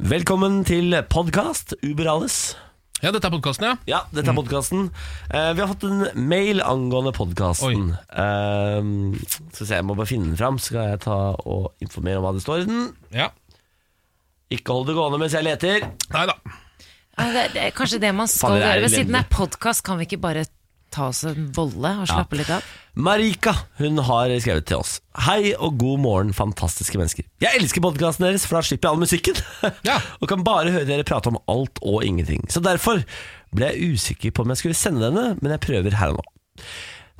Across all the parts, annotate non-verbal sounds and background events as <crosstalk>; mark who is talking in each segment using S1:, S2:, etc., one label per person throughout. S1: Velkommen til podkast Uberales. Mm.
S2: Ja, dette er podkasten, ja.
S1: Ja, dette er podkasten. Eh, vi har fått en mail angående podkasten. Um, skal vi se, jeg må bare finne den fram, så skal jeg ta og informere om hva det står i den.
S2: ja.
S1: Ikke hold det gående mens jeg leter.
S2: Nei da.
S3: Ja, det, det er kanskje det man skal
S1: Fader, det er
S3: gjøre. Men siden det
S1: elendig.
S3: er podkast, kan vi ikke bare ta oss en bolle og slappe litt av?
S1: Marika hun har skrevet til oss. Hei og god morgen, fantastiske mennesker. Jeg elsker podkasten deres, for da slipper jeg all musikken. <laughs>
S2: Ja.
S1: og kan bare høre dere prate om alt og ingenting. Så derfor ble jeg usikker på om jeg skulle sende denne, men jeg prøver her og nå.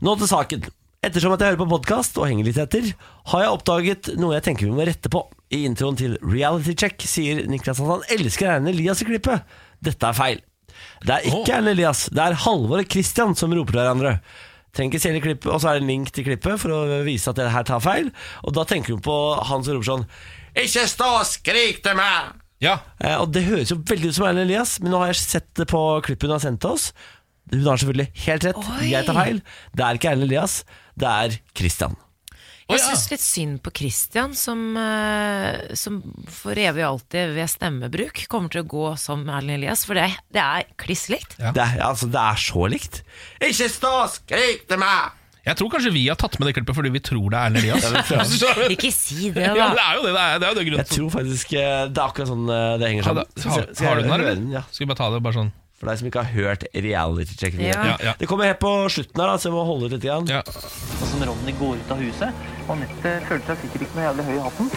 S1: Nå til saken. Ettersom at jeg hører på podkast og henger litt etter, har jeg oppdaget noe jeg tenker vi må rette på. I introen til Reality Check sier Niklas at han elsker Erlend Elias i klippet. Dette er feil. Det er ikke
S2: Åh.
S1: Erlend Elias, det er Halvor og Christian som roper til hverandre. Trenger ikke se hele klippet, Og så er det en link til klippet for å vise at dere her tar feil. Og da tenker hun på han som roper sånn Ikke stå og skrik til meg!
S2: Ja.
S1: Eh, Og det høres jo veldig ut som Erlend Elias, men nå har jeg sett det på klippet hun har sendt til oss. Hun har selvfølgelig helt rett,
S3: Oi.
S1: jeg tar feil. Det er ikke Erlend Elias, det er Christian.
S2: Å,
S3: Jeg
S2: ja.
S3: syns litt synd på Christian, som, eh, som for evig og alltid ved stemmebruk kommer til å gå som Erlend Elias, for det, det er kliss likt.
S2: Ja.
S1: Det, er, altså, det er så likt. Ikke stå og skrik til meg!
S2: Jeg tror kanskje vi har tatt med det klippet fordi vi tror det er Erlend Elias. <laughs> Skjønner du?
S3: Ikke si
S1: <laughs>
S3: det,
S2: ja, men det
S3: da.
S2: er jo det. Det er, det er jo det grunnen
S1: Jeg tror faktisk eh, det er akkurat sånn eh, det henger
S2: Ha det.
S1: sammen.
S2: Ha-
S1: Skal- skal
S2: har
S1: jeg
S2: du den her,
S1: høre
S2: eller?
S1: Ja,
S2: Skal vi bare ta det bare sånn?
S1: for deg som ikke har hørt reality check
S3: Ja.
S2: Ja, ja.
S1: Det kommer helt på slutten her, da, så jeg må holde ut litt. Grann.
S2: ja.
S4: og som Ronny går ut av huset. Og Anette følte seg sikkert ikke noe jævlig høy i hatten.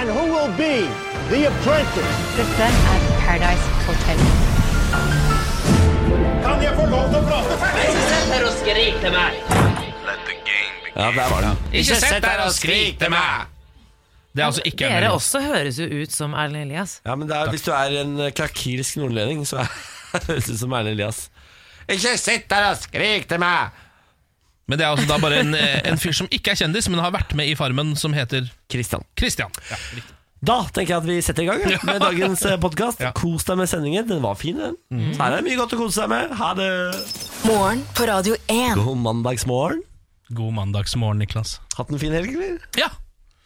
S5: And who will be the apprentice?
S6: Dette er Paradise Hotel.
S5: Kan jeg få lov til å prate
S1: Ja, der var den.
S2: Ikke sett deg og skrik til meg! Det er altså ikke Erlend
S3: Dere
S2: Elias.
S3: også høres jo ut som Erlend Elias.
S1: Ja, men det er, Hvis du er en eh, krakilsk nordlending, så <laughs> er- høres det ut som Erlend Elias. Ikke sitt der og skrik til meg!
S2: Men det er altså da bare en, eh, en fyr som ikke er kjendis, men har vært med i Farmen, som heter
S1: Christian.
S2: Christian. Ja, riktig.
S1: Da tenker jeg at vi setter i gang ja, med dagens podkast.
S2: Ja. Mhm.
S1: Kos deg med sendingen. Den var fin, den. Så her er det mye godt å kose seg med. Ha det!
S7: Morgen på Radio 1.
S1: God mandagsmorgen.
S2: God mandagsmorgen, Niklas.
S1: Hatt en fin helg, eller?
S2: Ja,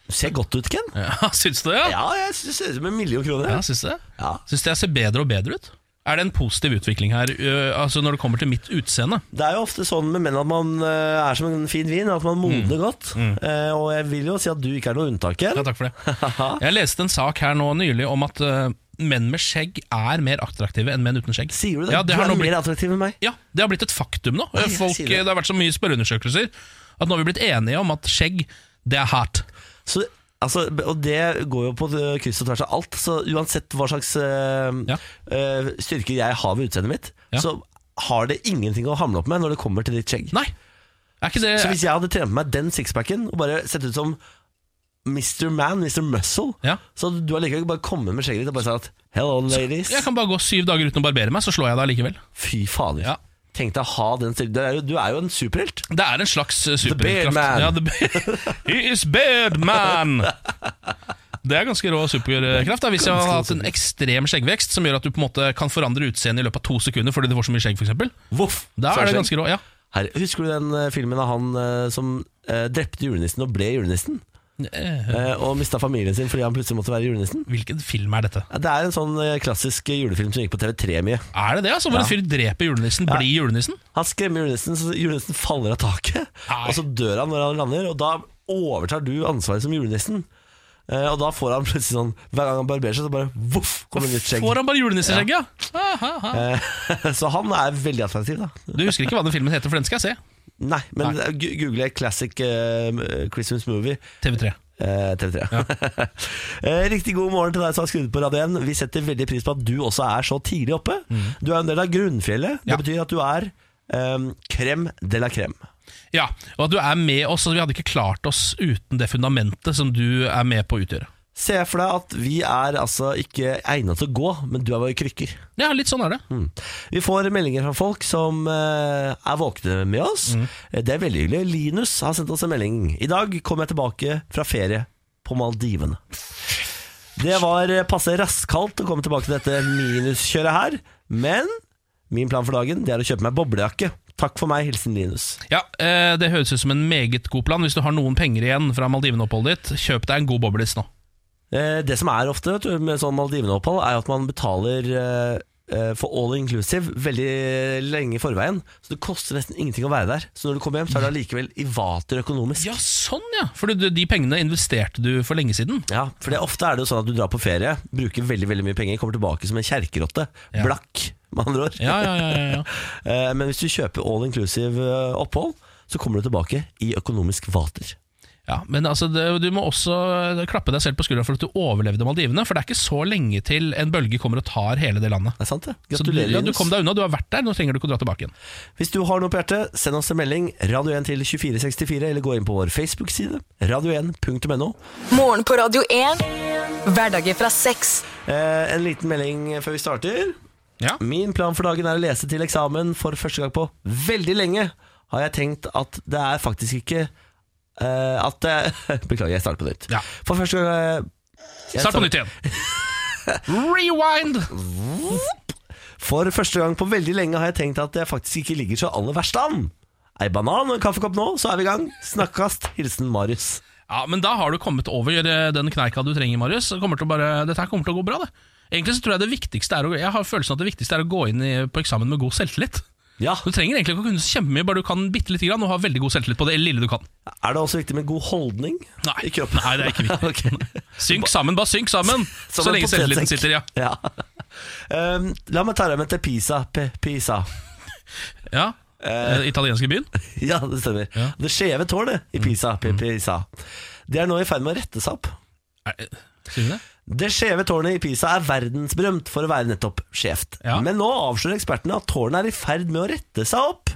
S1: Du ser godt ut, Ken.
S2: ja <laughs> Syns du det? Ja,
S1: Ja, jeg synes det ser ut som en million
S2: ja
S1: kroner.
S2: syns du det?
S1: Ja.
S2: Syns jeg ser bedre og bedre ut. Er det en positiv utvikling her ø, altså når det kommer til mitt utseende?
S1: Det er jo ofte sånn med menn at man eh, er som en fin vin, at man modner godt. Eh, og jeg vil jo si at du ikke er noe unntak, Ken.
S2: Mm. Ja, takk for
S1: <laughs>
S2: det. Jeg leste en sak her nå nylig om at ø, menn med skjegg er mer attraktive enn menn uten skjegg.
S1: Sier du det?
S2: Ja, det
S1: du
S2: har
S1: er
S2: nå blitt,
S1: mer attraktiv enn meg.
S2: ja, det har blitt et faktum nå.
S1: Oi, jeg
S2: Folk, eh,
S1: sier
S2: det.
S1: det.
S2: har vært så mye spørreundersøkelser at nå har vi blitt enige om at skjegg, det er hardt.
S1: Så, altså, og det går jo på eh, kryss og tvers av alt. Så uansett hva slags eh,
S2: Ja.
S1: eh, styrke jeg har ved utseendet mitt,
S2: Ja.
S1: så har det ingenting å hamle opp med når det kommer til ditt skjegg.
S2: Nei! Er ikke det
S1: Så hvis jeg hadde trent på meg den sixpacken og bare sett ut som Mr. Man, Mr. Muscle,
S2: Ja.
S1: så hadde du allikevel bare kommet med skjegget ditt og bare sagt Hello, ladies.
S2: Jeg kan bare gå syv dager uten å barbere meg, så slår jeg deg likevel.
S1: Fy fader.
S2: Ja.
S1: Tenk deg å ha den styrken. Du er jo, du er jo en superhelt.
S2: Det er en slags eh,
S1: Beard
S2: superkraft.
S1: Man.
S2: Ja, the Beard- <laughs> He is Beard Man! Det er ganske rå superkraft. da Hvis jeg hadde hatt en ekstrem skjeggvekst som gjør at du på en måte kan forandre utseendet i løpet av to sekunder fordi du får så mye skjegg, f.eks.
S1: Voff!
S2: Da
S1: Så
S2: er det
S1: skjegg.
S2: ganske rå. Ja.
S1: Her, Husker du den eh, filmen av han eh, som eh, drepte julenissen og ble julenissen?
S2: Eh,
S1: Eh, og mista familien sin fordi han plutselig måtte være julenissen?
S2: Hvilken film er dette?
S1: Ja, Det er en sånn eh, klassisk eh, julefilm som gikk på TV3 mye.
S2: Er det det? altså Hvor en
S1: Ja.
S2: fyr dreper julenissen, blir julenissen?
S1: Han skremmer julenissen, så julenissen faller av taket.
S2: Nei.
S1: Og så dør han når han lander, og da overtar du ansvaret som julenissen. Eh, og da får han plutselig sånn Hver gang han barberer seg, så bare voff, kommer nytt skjegg.
S2: Får han bare julenisseskjegg, ja? Ha, ha, ha.
S1: Eh, <laughs> så han er veldig attraktiv, da.
S2: Du husker ikke hva den filmen heter, for den skal jeg se.
S1: Nei, men gu- google 'classic eh, Christmas movie'.
S2: TV3.
S1: Eh, TV3. <laughs> eh, riktig god morgen til deg som har skrudd på Radio 1. Vi setter veldig pris på at du også er så tidlig oppe. Du er en del av grunnfjellet. Det
S2: Ja.
S1: betyr at du er um, krem de la krem.
S2: Ja, Og at du er med oss. og Vi hadde ikke klart oss uten det fundamentet som du er med på å utgjøre.
S1: Se for deg at vi er altså ikke egnet til å gå, men du er våre krykker.
S2: Ja, litt sånn er det.
S1: Mm. Vi får meldinger fra folk som eh, er våkne med oss. Eh, Det er veldig hyggelig. Linus har sendt oss en melding. I dag kom jeg tilbake fra ferie på Maldivene. Det var eh, passe rasskaldt å komme tilbake til dette minuskjøret her, men min plan for dagen det er å kjøpe meg boblejakke. Takk for meg, hilsen Linus.
S2: Ja, eh, Det høres ut som en meget god plan. Hvis du har noen penger igjen fra Maldiven-oppholdet ditt, kjøp deg en god boblis nå.
S1: Eh, Det som er ofte vet du, med sånn Maldivene-opphold, er jo at man betaler eh, eh, for all inclusive veldig lenge i forveien. Så det koster nesten ingenting å være der. Så når du kommer hjem, så er det allikevel i vater økonomisk.
S2: Ja, sånn ja! For du- de pengene investerte du for lenge siden.
S1: Ja, for det, ofte er det jo sånn at du drar på ferie, bruker veldig veldig mye penger, kommer tilbake som en kjerkerotte.
S2: Ja.
S1: Blakk, med andre ord.
S2: Ja, ja, ja, ja, ja.
S1: <laughs> Eh, Men hvis du kjøper all inclusive eh, opphold, så kommer du tilbake i økonomisk vater.
S2: <laughs> Ja, men altså, det, du må også eh, klappe deg selv på skuldra for at du overlevde Maldivene. For det er ikke så lenge til en bølge kommer og tar hele det landet.
S1: Det er sant, det.
S2: Så du,
S1: Gratulerer,
S2: ja, du
S1: Linus.
S2: kom deg unna, du har vært der, nå trenger du ikke å dra tilbake igjen.
S1: Hvis du har noe på hjertet, send oss en melding. Radio 1 til 2464, eller gå inn på vår Facebook-side. Radio1.no.
S7: Morgen på Radio 1. Hverdager fra seks.
S1: Eh, en liten melding før vi starter.
S2: Ja.
S1: Min plan for dagen er å lese til eksamen for første gang på veldig lenge. Har jeg tenkt at det er faktisk ikke eh, at det <laughs> Beklager, jeg starter på nytt.
S2: Ja.
S1: For første gang eh, jeg
S2: Start på
S1: starter-
S2: nytt igjen. <laughs> Rewind!
S1: For første gang på veldig lenge har jeg tenkt at jeg faktisk ikke ligger så aller verst an. Ei banan og en kaffekopp nå, så er vi i gang. Snakkast. Hilsen Marius.
S2: Ja, men da har du kommet over eh, den kneika du trenger, Marius. Det Kommer til å bare, dette her kommer til å gå bra, det. Egentlig så tror jeg det viktigste er å, jeg har følelsen at det viktigste er å gå inn i, på eksamen med god selvtillit.
S1: Ja.
S2: Du trenger egentlig ikke å kunne så kjempemye, bare du kan bitte lite grann og ha veldig god selvtillit på det lille du kan.
S1: Er det også viktig med god holdning
S2: Nei,
S1: i kroppen?
S2: nei, <laughs> det er ikke viktig.
S1: Ok.
S2: Synk sammen, bare synk sammen!
S1: <laughs> Som
S2: så
S1: en
S2: lenge selvtilliten
S1: potetsekk.
S2: sitter, ja.
S1: Ja. Um, la meg ta deg med til Pisa. P Pisa. <laughs>
S2: ja. Eh, italienske byen?
S1: Ja, det stemmer.
S2: Ja. Mm.
S1: Det skjeve tårnet i Pisa. P Pisa. Det er nå i ferd med å rette seg opp.
S2: Er- eh, Sier du det?
S1: Det skjeve tårnet i Pisa er verdensberømt for å være nettopp skjevt.
S2: Ja.
S1: Men nå avslører ekspertene at tårnet er i ferd med å rette seg opp.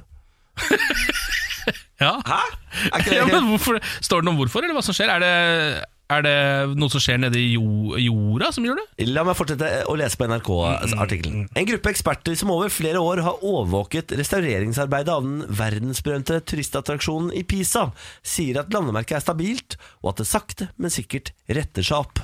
S2: Ja.
S1: Hæ? Er ikke
S2: <laughs>
S1: det
S2: ja men hvorfor, står det noe om hvorfor, eller hva som skjer? Er det, er det noe som skjer nede i jo, jorda som gjør det?
S1: La meg fortsette å lese på NRK-artikkelen. En gruppe eksperter som over flere år har overvåket restaureringsarbeidet av den verdensberømte turistattraksjonen i Pisa, sier at landemerket er stabilt, og at det sakte, men sikkert retter seg opp.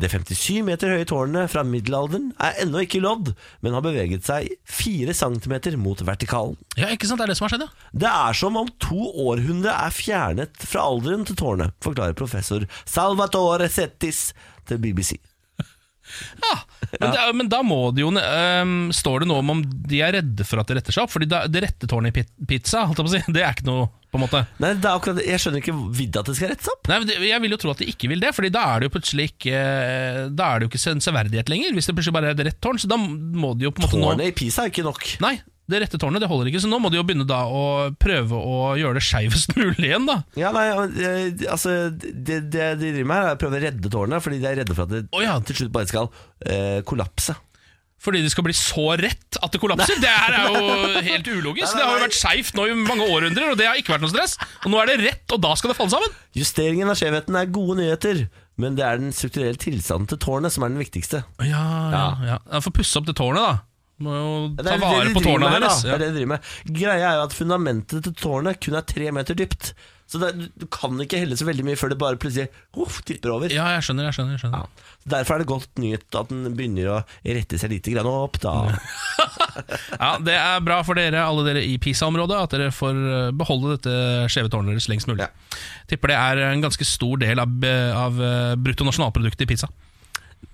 S1: Det 57 meter høye tårnet fra middelalderen er ennå ikke lodd, men har beveget seg 4 cm mot vertikalen.
S2: Ja, ikke sant, det er det som har skjedd, ja.
S1: Det er som om to århundre er fjernet fra alderen til tårnet, forklarer professor Salvatore Settis til BBC.
S2: ja. Men, Det, er- men da må det jo ehm, Står det noe om om de er redde for at det retter seg opp? Fordi da, det rette tårnet i pi- pizza, holdt jeg på å si, <laughs> det er ikke noe, på en måte.
S1: Nei, det er akkurat det. Jeg skjønner ikke vidda at det skal rettes opp.
S2: Nei, men det- Jeg vil jo tro at de ikke vil det, Fordi da er det jo plutselig ikke eh, Da er det jo ikke sen- severdighet lenger, hvis det plutselig bare er det rette tårn. Så da må de jo på en måte nå
S1: Tårnet i Pisa er ikke nok.
S2: Nei, det rette tårnet det holder ikke, så nå må de jo begynne da å prøve å gjøre det skeivest <laughs> mulig igjen, da.
S1: Ja, nei, eh, altså Det, det de driver med her, er å prøve å redde tårnet, fordi de er redde for at det
S2: Å ja.
S1: til slutt bare skal eh, kollapse.
S2: Fordi det skal bli så rett at det kollapser. Det her er jo helt ulogisk.
S1: Nei, nei,
S2: Det har jo
S1: nei.
S2: vært skeivt nå i mange århundrer, og det har ikke vært noe stress. Og nå er det rett, og da skal det falle sammen.
S1: Justeringen av skjevheten er gode nyheter, men det er den strukturelle tilstanden til tårnet som er den viktigste.
S2: Ja, ja, ja. ja Få pusse opp det tårnet, da. Må jo ta
S1: jo
S2: vare
S1: de
S2: på
S1: driver
S2: tårna
S1: med her, da.
S2: deres.
S1: Det
S2: Ja.
S1: er det de driver med. Greia er jo at fundamentet til tårnet kun er tre meter dypt. Så det, er- du kan ikke helle så veldig mye før det bare plutselig uff, tipper over.
S2: ja, jeg skjønner, jeg skjønner. Jeg skjønner.
S1: Ja. Så Derfor er det godt nytt at den begynner å rette seg litt grann opp, da.
S2: Ja, Det er bra for dere, alle dere i PISA-området, at dere får eh, beholde dette skjeve tårnet deres lengst mulig.
S1: Ja.
S2: Tipper det er en ganske stor del av, av eh, bruttonasjonalproduktet i pizza.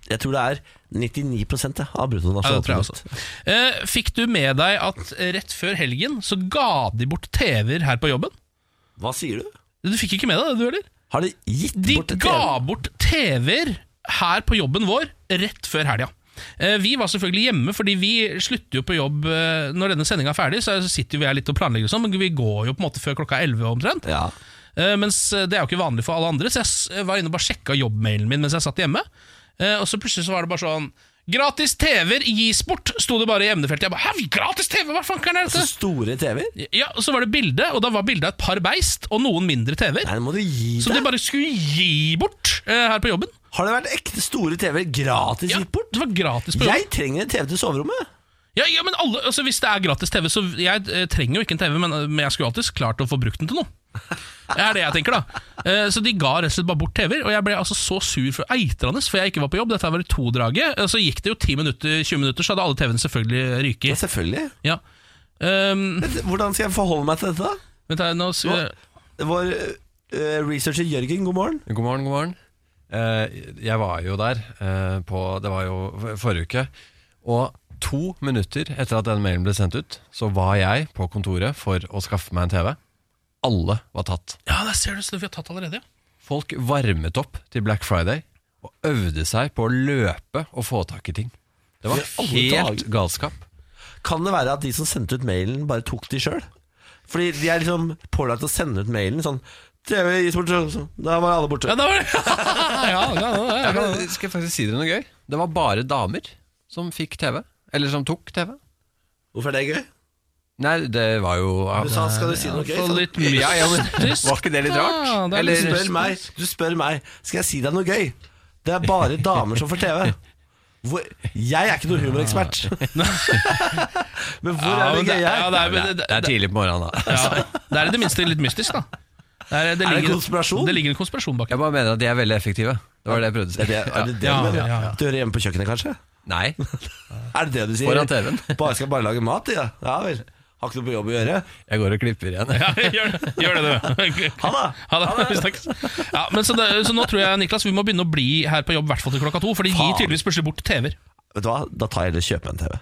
S1: Jeg tror det er 99 jeg,
S2: Ja,
S1: av
S2: det tror jeg
S1: bruttonasjonalprodukt.
S2: også. Eh, Fikk du med deg at rett før helgen så ga de bort TV-er her på jobben?
S1: Hva sier du?
S2: Du fikk ikke med deg det, du heller?
S1: Har de gitt
S2: De
S1: bort et
S2: ga
S1: TV?
S2: bort TV-er her på jobben vår rett før helga. Eh, Vi var selvfølgelig hjemme, fordi vi slutter jo på jobb eh, når denne sendinga er ferdig. Så sitter vi her litt og planlegger og sånn, men vi går jo på en måte før klokka 11 omtrent.
S1: Ja.
S2: Eh, Mens det er jo ikke vanlig for alle andre, så jeg s- eh, var inne og bare sjekka jobbmailen min mens jeg satt hjemme. Eh, Og så plutselig så var det bare sånn Gratis TV-er gis bort, sto det bare i emnefeltet. Jeg bare, Hæ, gratis TV, hva fankeren er
S1: Så
S2: dette?
S1: store TV-er?
S2: Ja, og så var det bilde, og da var bildet et par beist og noen mindre TV-er.
S1: Nei, nå må du gi
S2: Som de
S1: deg!
S2: bare skulle gi bort eh, her på jobben.
S1: Har det vært ekte store TV-er gratis
S2: Ja,
S1: gitt bort?
S2: det var gratis på jobben.
S1: Jeg trenger en TV til soverommet!
S2: Ja, ja, men alle, altså, Hvis det er gratis TV, så jeg eh, trenger jo ikke en TV, men, men jeg skulle alltid klart å få brukt den til noe. Det er det jeg tenker, da. Eh, så de ga rett og slett bare bort TV-er, og jeg ble altså så sur for eitrende, for jeg ikke var på jobb. Dette her var i todraget. Eh, Så gikk det jo 10 minutter, 20 minutter, så hadde alle TV-ene selvfølgelig
S1: Ja,
S2: ryket.
S1: selvfølgelig.
S2: Ja. Um,
S1: Hvordan skal jeg forholde meg til dette, da?
S2: vent her, nå,
S1: Vår eh, researcher Jørgen, god morgen.
S8: God morgen, god morgen. Eh, jeg var jo der eh, på Det var jo for- forrige uke. Og to minutter etter at den mailen ble sendt ut, så var jeg på kontoret for å skaffe meg en TV. Alle var tatt.
S2: Ja, der ser du så vi har tatt allerede, ja.
S8: Folk varmet opp til Black Friday og øvde seg på å løpe og få tak i ting. Det var
S1: alle
S8: helt galskap.
S1: Kan det være at de som sendte ut mailen, bare tok de sjøl? Fordi de er liksom pålagt å sende ut mailen sånn TV gis bort, så- Da var alle borte.
S2: Ja, da var det. ja, ja, ja, ja,
S8: Ja,
S2: ja.
S8: men Eh, Skal jeg faktisk si dere noe gøy? Det var bare damer som fikk TV. Eller som tok TV.
S1: Hvorfor er det gøy?
S8: Nei, det var jo
S1: Du sa skal du si noe gøy?
S2: Få
S1: sa du.
S2: litt mystisk.
S8: Ja, ja, men,
S9: <laughs>
S8: var ikke det litt
S2: da.
S8: rart?
S2: Det er
S1: Du
S8: Eller-
S2: litt mystisk.
S1: spør meg, du spør meg Skal jeg si deg noe gøy? Det er bare damer som får TV. Hvor, jeg er ikke noen humorekspert. <laughs> Men hvor
S2: Ja,
S1: er det
S2: men det-
S1: gøye
S2: ja,
S1: her?
S2: det er-
S8: Det er, det er tidlig på morgenen, da.
S2: Ja, det er i det minste litt mystisk, da. Det er, det
S1: Er det
S2: ligger-
S1: konspirasjon?
S2: Det ligger en konspirasjon bak.
S8: Jeg bare mener at de er veldig effektive. Det var det jeg prøvde å
S1: Er det
S8: si.
S1: er det, det
S2: Ja,
S1: du mener?
S2: ja, ja.
S1: Du hører hjemme på kjøkkenet, kanskje?
S8: Nei.
S1: Er det det du sier?
S8: Foran TV-en.
S1: <laughs> Bare skal bare lage mat, ja. Ja vel. Har ikke noe på jobb å gjøre.
S8: Jeg går og klipper igjen.
S2: Ja, <laughs> gjør det, gjør det du.
S1: Ha det.
S2: <laughs> Ha det. Vi snakkes. Ja, men så, det, så nå tror jeg, Niklas, vi må begynne å bli her på jobb, i hvert fall til klokka to. For de gir
S1: Faen.
S2: tydeligvis plutselig bort TV-er.
S1: Vet du hva, da tar jeg heller kjøpe en TV.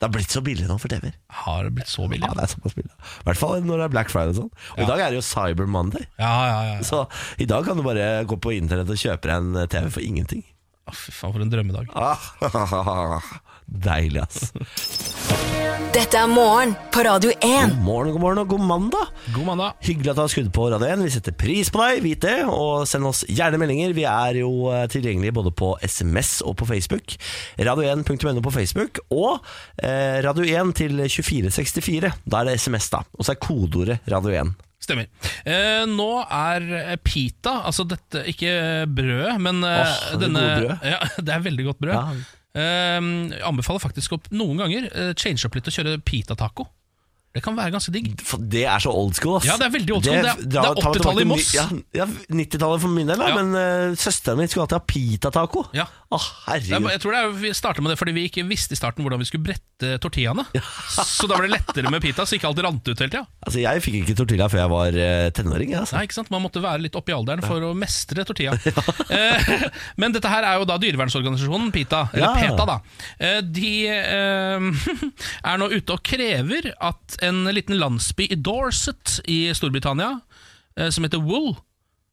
S1: Det har blitt så billig nå for TV-er.
S2: Har det blitt så billig?
S1: Ja, det er såpass billig. I hvert fall når det er Black Friday og sånn. Og i dag er det jo Cyber Monday.
S2: Ja, ja, ja.
S1: Så i dag kan du bare gå på internett og kjøpe deg en TV for ingenting.
S2: Å, Fy faen, for en drømmedag.
S1: Ah, <laughs> Deilig, ass.
S7: Dette er morgen på Radio 1.
S1: God morgen, god morgen og god mandag.
S2: God mandag.
S1: Hyggelig at du har skrudd på Radio 1. Vi setter pris på deg, vit det. Og send oss gjerne meldinger. Vi er jo eh, tilgjengelige både på SMS og på Facebook. Radio1.no på Facebook og eh, Radio1 til 2464. Da er det SMS, da. Og så er kodeordet Radio1.
S2: Stemmer. Eh, nå er eh, pita, altså dette Ikke brødet, men eh,
S1: Åh, det er
S2: denne
S1: gode brød.
S2: <laughs> ja, Det er veldig godt brød.
S1: Ja.
S2: Eh, jeg anbefaler faktisk å noen ganger eh, change opp litt og kjøre pita-taco. Det kan være ganske digg.
S1: For Det er så old school, ass.
S2: Ja, det er veldig old school. Det er- det er
S1: da- tar vi
S2: 80-tallet i
S1: tilbake
S2: Moss.
S1: ni- Ja, ja 90-tallet for min del, da.
S2: Ja.
S1: Men eh, søsteren min skulle alltid ha pita-taco.
S2: Ja.
S1: Å,
S2: Det er,
S1: herregud.
S2: jeg tror det er, Vi startet med det fordi vi ikke visste i starten hvordan vi skulle brette
S1: <laughs>
S2: tortillaene. Så da ble det lettere med pita, så ikke alt rant ut hele tida.
S1: Altså, jeg fikk ikke tortilla før jeg var eh, tenåring. jeg, Altså.
S2: Nei, ikke sant? Man måtte være litt oppi alderen for å mestre tortilla. Eh, Men dette her er jo da dyrevernsorganisasjonen PETA, eller
S1: Ja.
S2: PETA da. Eh, De eh, <laughs> er nå ute og krever at en liten landsby i Dorset i Storbritannia, eh, som heter Wool,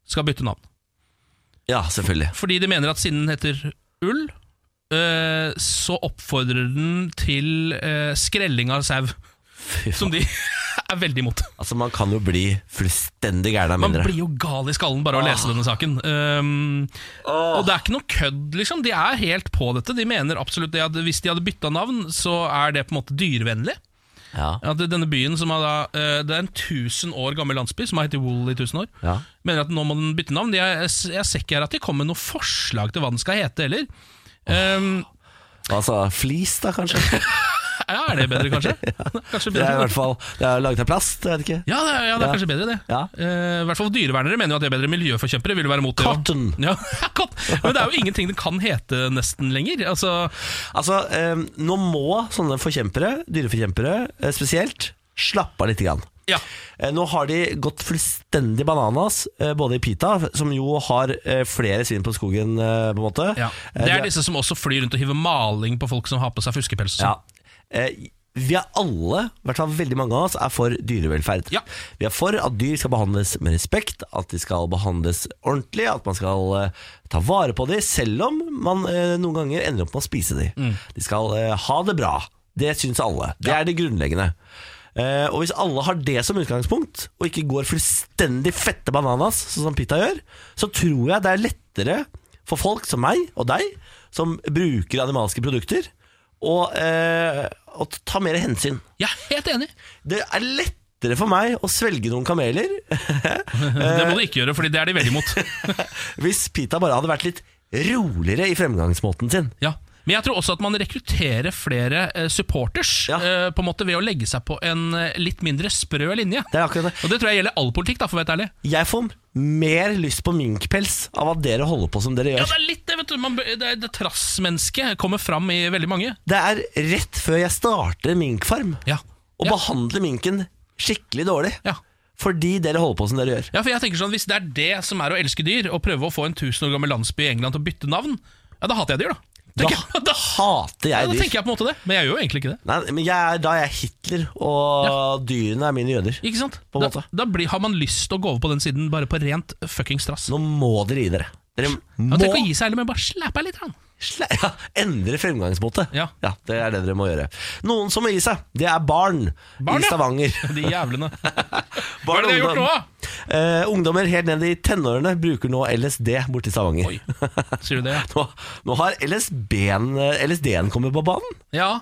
S2: skal bytte navn.
S1: Ja, selvfølgelig.
S2: Fordi de mener at siden den heter ull, eh, så oppfordrer den til eh, skrelling av sau. Som de <laughs> er veldig imot.
S1: Altså, man kan jo bli fullstendig gæren av
S2: Man
S1: mindre. Ah.
S2: blir jo gal i skallen bare av å lese denne saken. Um, og det er ikke noe kødd, liksom. De er helt på dette. De mener absolutt det at hvis de hadde bytta navn, så er det på en måte dyrevennlig.
S1: Ja.
S2: At denne byen som er da, eh, Det er en 1000 år gammel landsby som har hett Wool i 1000 år.
S1: Ja.
S2: Mener at nå må den bytte navn. De er, jeg ser ikke her at de kommer med noe forslag til hva den skal hete heller. Um,
S1: Altså, flis, da, kanskje.
S2: ja, er det bedre,
S1: <laughs>
S2: kanskje? kanskje
S1: Det er i
S2: bedre.
S1: hvert fall Det er laget av plast, jeg vet ikke.
S2: Ja, det er, ja, det er
S1: Ja.
S2: kanskje bedre, det.
S1: Ja.
S2: Eh, I hvert fall dyrevernere mener jo at det er bedre. Miljøforkjempere vil jo være mot det. også.
S1: Cotton.
S2: Ja, <laughs> cotton. Men det er jo ingenting det kan hete nesten lenger. Altså,
S1: Altså, eh, nå må sånne forkjempere, dyreforkjempere eh, spesielt, slappe av lite grann.
S2: ja.
S1: Eh, Nå har de gått fullstendig bananas, eh, både i Pita, som jo har eh, flere svin på skogen, eh, på en måte.
S2: ja.
S1: Eh,
S2: Det
S1: de-
S2: er disse som også flyr rundt og hiver maling på folk som har på seg fuskepels. og sånn.
S1: Ja. Eh, Vi er alle, i hvert fall veldig mange av oss, er for dyrevelferd.
S2: Ja.
S1: Vi er for at dyr skal behandles med respekt, at de skal behandles ordentlig, at man skal eh, ta vare på dem, selv om man eh, noen ganger ender opp med å spise dem. De skal eh, ha det bra. Det syns alle. Det er det grunnleggende. Eh, og hvis alle har det som utgangspunkt, og ikke går fullstendig fette bananas, sånn som Pita gjør, så tror jeg det er lettere for folk som meg og deg, som bruker animalske produkter, å eh, å ta mer hensyn.
S2: Jeg er helt enig.
S1: Det er lettere for meg å svelge noen kameler Eh,
S2: Det må du ikke gjøre, Fordi det er de veldig
S1: <laughs>
S2: imot.
S1: hvis Pita bare hadde vært litt roligere i fremgangsmåten sin.
S2: Ja. Men jeg tror også at man rekrutterer flere eh, supporters
S1: Ja.
S2: eh, På en måte ved å legge seg på en eh, litt mindre sprø linje.
S1: Det er akkurat det.
S2: Og det tror jeg gjelder all politikk, da, for å være helt ærlig.
S1: Jeg får mer lyst på minkpels av at dere holder på som dere
S2: Ja,
S1: gjør.
S2: det er litt det, vet du. Man, bør- det, er- det trassmennesket kommer fram i veldig mange.
S1: Det er rett før jeg starter minkfarm,
S2: Ja.
S1: og
S2: ja.
S1: behandler minken skikkelig dårlig.
S2: ja.
S1: fordi dere holder på som dere gjør.
S2: Ja, for jeg tenker sånn, Hvis det er det som er å elske dyr, å prøve å få en 1000 år gammel landsby i England til å bytte navn, ja, da hater jeg dyr, da.
S1: Da
S2: Tenker jeg. <laughs> Da,
S1: hater
S2: ja,
S1: jeg
S2: da
S1: dyr.
S2: tenker jeg på en måte det, men jeg gjør jo egentlig ikke det.
S1: Nei, men jeg er, da er jeg Hitler, og dyrene er mine jøder.
S2: Ikke sant?
S1: På en måte.
S2: Da, da blir, har man lyst til å gå over på den siden bare på rent fucking strass.
S1: Nå må dere gi dere. Dere
S2: Ja,
S1: må
S2: Tenk å gi seg heller, men bare slæpe litt. grann.
S1: sle- ja, endre fremgangsmåte.
S2: Ja.
S1: Det er det dere må gjøre. Noen som må gi seg, det er barn,
S2: Barn,
S1: i
S2: ja.
S1: Stavanger.
S2: <laughs> De jævlene. Hva
S1: <laughs>
S2: er
S1: Barn
S2: det de har
S1: og
S2: gjort nå,
S1: ungdom.
S2: da?
S1: Eh, ungdommer helt ned i tenårene bruker nå LSD borte i Stavanger.
S2: Oi, Sier du det, ja?
S1: Nå, nå har LSB-en LSD-en kommet på banen.
S2: Ja,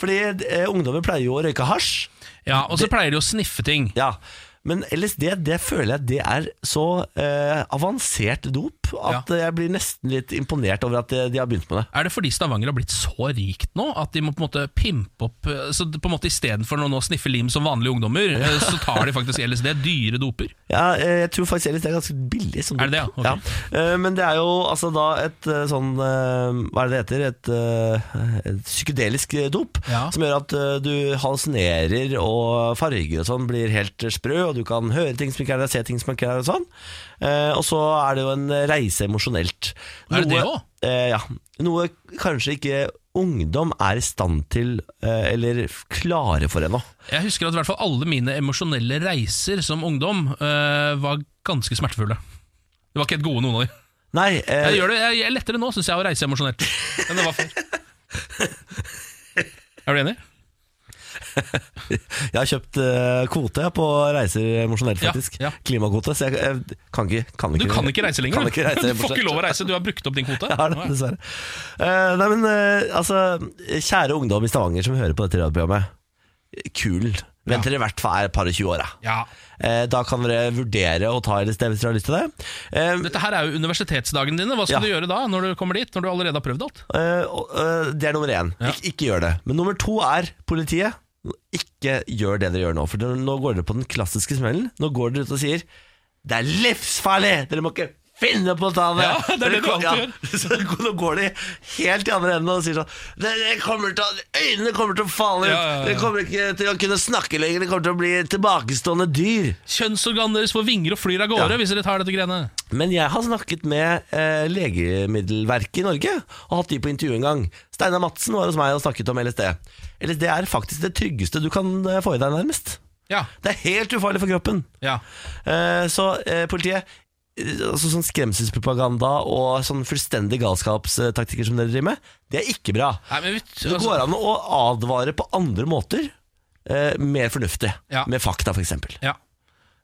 S1: Fordi eh, ungdommer pleier jo å røyke hasj.
S2: ja og så pleier de å sniffe ting.
S1: Ja, men LSD, det føler jeg det er så eh, avansert dop at jeg blir nesten litt imponert over at de, de har begynt med det.
S2: Er det fordi Stavanger har blitt så rikt nå at de må på en måte pimpe opp eh, Så på en måte istedenfor å nå sniffe lim som vanlige ungdommer, eh, så tar de faktisk LSD, dyre doper.
S1: Ja, eh, jeg tror faktisk LSD er ganske billig som dop.
S2: Er det det, ja? Ok.
S1: Eh, men det er jo altså da et eh, sånn eh, Hva er det det heter? Et, eh, et psykedelisk eh, dop
S2: Ja.
S1: som gjør at eh, du hallusinerer og farger og sånn blir helt sprø, og du kan høre ting som ikke er der, se ting som ikke er der og sånn. Eh, og så er det jo en reise emosjonelt.
S2: Er det det
S1: Noe-
S2: også?
S1: Eh, ja. Noe kanskje ikke ungdom er i stand til, eh, eller f- klare for ennå.
S2: Jeg husker at i hvert fall alle mine emosjonelle reiser som ungdom eh, var ganske smertefulle. Det var ikke helt gode, noen av de.
S1: Nei, eh,
S2: Jeg gjør det jeg, jeg er lettere nå, syns jeg, å reise emosjonelt enn det var før. Er du enig?
S1: jeg har kjøpt eh, kvote jeg, på reiser emosjonelt,
S2: Ja,
S1: faktisk.
S2: ja.
S1: Klimakvote, så jeg, jeg kan, ikke, kan
S2: Du
S1: ikke
S2: kan ikke reise lenger.
S1: Kan ikke
S2: <laughs>
S1: reise
S2: du får ikke
S1: emosjonelt.
S2: lov å reise, du har brukt opp din kvote.
S1: Jeg har det, dessverre. Eh, nei, men eh, altså, kjære ungdom i Stavanger som hører på dette radioprogrammet. Kul. Vent til dere i hvert fall er et par og tjue år, da.
S2: Ja.
S1: Eh, da kan dere vurdere å ta LSD hvis dere har lyst til det. Eh,
S2: Dette her er jo universitetsdagene dine. Hva skal
S1: Ja.
S2: du gjøre da, når du kommer dit? Når du allerede har prøvd alt?
S1: Eh, og, eh, det er nummer én.
S2: Ja.
S1: Ik ikke gjør det. Men nummer to er politiet. Ikke gjør det dere gjør nå. For dere- nå går dere på den klassiske smellen. Nå går dere ut og sier det er livsfarlig! Dere må ikke finne på å ta det!
S2: Ja, det er det du
S1: Dere-
S2: alltid
S1: <laughs> Så nå går de helt i andre enden og sier sånn Dere kommer til å, Øynene kommer til å falle ut!
S2: Ja, ja, ja.
S1: Dere kommer ikke til å kunne snakke lenger! Dere kommer til å bli tilbakestående dyr!
S2: Kjønnsorganene deres får vinger og flyr av gårde
S1: Ja.
S2: hvis dere tar dette greiene.
S1: Men jeg har snakket med eh, legemiddelverket i Norge og hatt de på intervju en gang. Steinar Madsen var hos meg og snakket om LSD. LSD er faktisk det tryggeste du kan eh, få i deg, nærmest.
S2: Ja,
S1: Det er helt ufarlig for kroppen.
S2: ja.
S1: Eh, så eh, politiet eh, Altså sånn skremselspropaganda og sånn fullstendig galskapstaktikker som dere driver med, det er ikke bra.
S2: Nei, men vi, altså,
S1: Det går an å advare på andre måter, eh, mer fornuftig.
S2: Ja.
S1: Med fakta, f.eks.
S2: Ja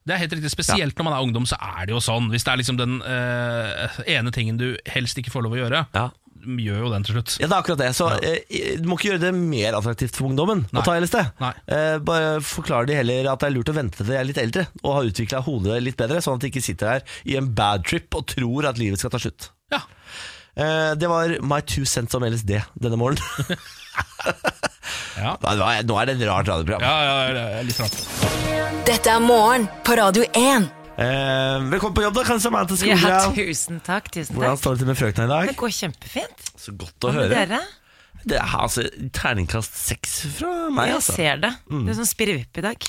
S2: det er helt riktig, Spesielt når man er ungdom, så er det jo sånn. Hvis det er liksom den eh, ene tingen du helst ikke får lov å gjøre,
S1: Ja.
S2: gjør jo den til slutt.
S1: Ja, det er akkurat det. Så eh, Du må ikke gjøre det mer attraktivt for ungdommen
S2: Nei.
S1: å ta LSD.
S2: Nei.
S1: Eh, bare forklar de heller at det er lurt å vente til de er litt eldre og har utvikla hodet litt bedre, sånn at de ikke sitter her i en bad trip og tror at livet skal ta slutt.
S2: Ja.
S1: Eh, det var my two cents om LSD denne morgenen.
S2: <laughs> Ja.
S1: Nei, nå er- Nå er det et rart radioprogram.
S2: Ja, ja, ja, det er litt rart.
S7: Dette er morgen på Radio 1.
S1: Eh, velkommen på jobb, da, Kanskje Samantha
S3: Ja,
S1: Skogran.
S3: tusen takk. Tusen
S1: Hvordan
S3: takk.
S1: står det til med frøkna i
S3: Det
S1: dag?
S3: går kjempefint.
S1: Så godt å
S3: Hva med
S1: høre.
S3: dere?
S1: Det er altså terningkast seks fra meg,
S3: Jeg
S1: altså.
S3: ser det. Du er sånn spirrevipp i dag.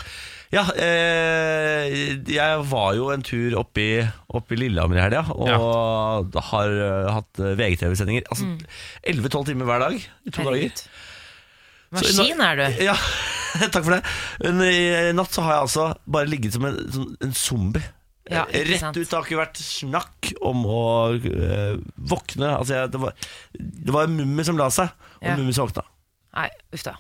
S1: Ja, eh, jeg var jo en tur oppe i, oppe i Lillehammer i helga, og har eh, hatt eh, VGTV-sendinger. Altså 11-12 timer hver dag i to dager.
S3: Mm. Herregud.
S1: Så Eh, i
S3: Maskin
S1: natt-
S3: er du.
S1: Ja, <laughs> takk for det. Men i natt så har jeg altså bare ligget som en, som en zombie.
S3: Ja,
S1: Eh,
S3: ikke
S1: Rett
S3: sant.
S1: ut. Det har ikke vært snakk om å eh, våkne. Altså, jeg, det var, det var Mummi som la seg, og
S3: Ja.
S1: Mummi som våkna.
S3: Nei, uff da.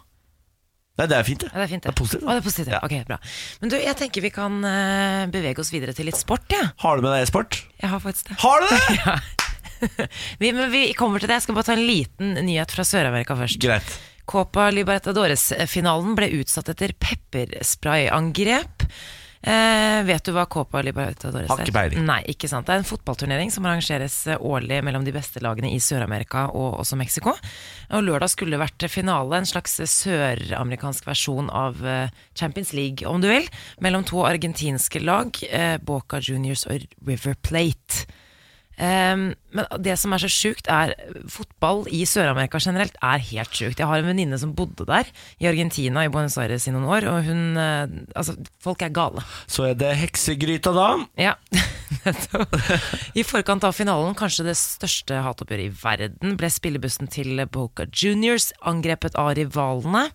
S1: Nei, det er fint, det.
S3: Ja, det er fint, det.
S1: Det er positivt, da.
S3: Å, det er positivt, ja. Ok, bra. Men du, jeg tenker vi kan eh, bevege oss videre til litt sport, jeg.
S1: Har du med deg e-sport?
S3: Ja. Jeg har faktisk det.
S1: Har du det?!
S3: Vi, men vi kommer til det. Jeg skal bare ta en liten nyhet fra Sør-Amerika først.
S1: <laughs> Greit.
S3: Copa Libertadores-finalen ble utsatt etter peppersprayangrep. Eh, vet du hva Copa Libertadores
S1: Har ikke peiling.
S3: Nei, ikke sant. Det er en fotballturnering som arrangeres eh, årlig mellom de beste lagene i Sør-Amerika og også Mexico. Og lørdag skulle det vært finale, en slags søramerikansk versjon av eh, Champions League, om du vil, mellom to argentinske lag, eh, Boca Juniors og River Plate. Ehm, men det som er så sjukt, er fotball i Sør-Amerika generelt er helt sjukt. Jeg har en venninne som bodde der, i Argentina, i Buenos Aires i noen år, og hun eh, Altså, folk er gale.
S1: Så er det heksegryta, da.
S3: Ja, <laughs> nettopp. I forkant av finalen, kanskje det største hatoppgjøret i verden, ble spillebussen til Boca Juniors angrepet av rivalene.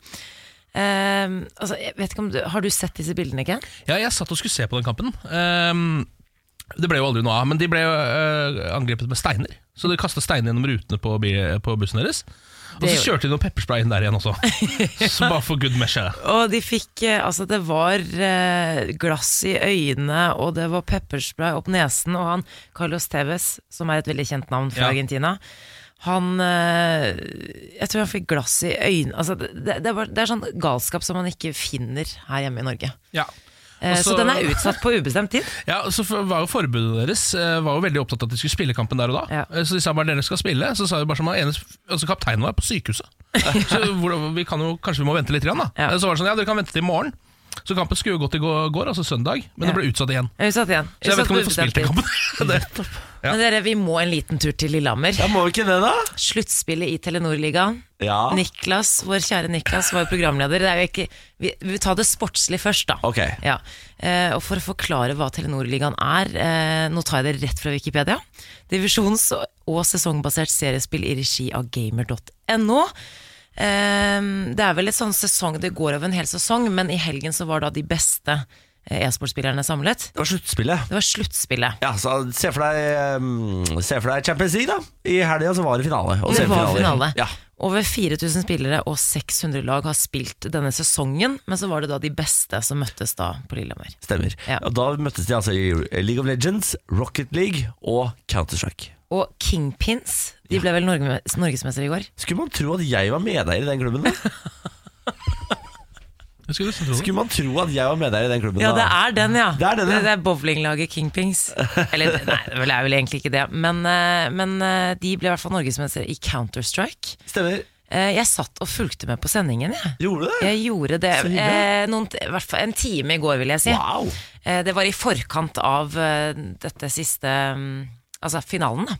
S3: Ehm, altså, jeg vet ikke om du, har du sett disse bildene, Ken?
S2: Ja, jeg satt og skulle se på den kampen. Ehm, det ble jo aldri noe av, men de ble jo, eh, angrepet med steiner. Så de kasta steiner gjennom rutene på, bi på bussen deres. Og
S3: Det
S2: så
S3: gjorde-
S2: kjørte de noe pepperspray inn der igjen også. Så bare for good measure.
S3: Og de fikk, eh, altså det var eh, glass i øynene, og det var pepperspray opp nesen, og han, Carlos Tevez, som er et veldig kjent navn fra
S2: Ja.
S3: Argentina, han, eh, jeg tror han fikk glass i øynene, altså det, det, det, var, det er sånn galskap som man ikke finner her hjemme i Norge.
S2: Ja.
S3: Eh,
S2: Og
S3: så,
S2: så-
S3: den er utsatt på ubestemt tid.
S2: Ja, og så f- var jo Forbudet deres eh, var jo veldig opptatt av at de skulle spille kampen der og da.
S3: Ja.
S2: Eh, Så de sa bare dere skal spille. Så sa de bare som han ene, altså kapteinen var på sykehuset.
S3: <laughs>
S2: Så hvordan- vi kan jo, kanskje vi må vente litt, grann, da.
S3: Ja.
S2: Eh, Så var det sånn ja, dere kan vente til i morgen. Så kampen skulle jo gått i går, går, altså søndag, men
S3: Ja.
S2: det ble utsatt igjen.
S3: Jeg er Utsatt igjen.
S2: Så jeg
S3: Utsatt
S2: vet ikke om
S3: på
S2: de får
S3: ubestemt
S2: spilt den
S3: tid.
S2: kampen. <laughs> det. Ja.
S3: Men dere, vi må en liten tur til Lillehammer.
S1: Ja, Må vi ikke det, da?
S3: Sluttspillet i Telenor-ligaen.
S1: Ja.
S3: Niklas, vår kjære Niklas, var jo programleder. Det er jo ikke, vi, vi tar det sportslig først, da.
S1: Ok.
S3: Ja. Eh, og for å forklare hva Telenor-ligaen er, eh, nå tar jeg det rett fra Wikipedia. Divisjons- og sesongbasert seriespill i regi av gamer.no. Eh, det er vel et sånn sesong, det går over en hel sesong, men i helgen så var da de beste eh, e-sportspillerne samlet.
S1: Det var sluttspillet.
S3: Det var sluttspillet.
S1: Ja, så Se for deg, um, se for deg Champions League, da. I helga så var det finale. Og
S3: Det var
S1: semifinaler.
S3: finale.
S1: Ja.
S3: Over 4000 spillere og 600 lag har spilt denne sesongen, men så var det da de beste som møttes da på Lillehammer.
S1: Stemmer.
S3: Ja.
S1: Og da møttes de altså i League of Legends, Rocket League og Counter-Strike.
S3: Og Kingpins, de ble vel Norge, norgesmester i går?
S1: Skulle man tro at jeg var medeier i den klubben? da?
S3: <laughs>
S2: Jeg skulle nesten tro det.
S1: Skulle man tro at jeg var medeier i den klubben?
S3: Ja,
S1: da?
S3: det er den, ja.
S1: Det er den, ja.
S3: det er bowlinglaget Kingpins. Eller nei, det er vel- er vel egentlig ikke det, men, eh, men eh, de ble i hvert fall norgesmester i Counter-Strike.
S1: Stemmer.
S3: Eh, Jeg satt og fulgte med på sendingen, jeg.
S1: Gjorde du det?
S3: Jeg gjorde det
S1: Så hyggelig.
S3: eh, noen, i hvert fall en time i går, vil jeg si.
S1: Wow.
S3: Eh, Det var i forkant av eh, dette siste mm, Altså finalen, da.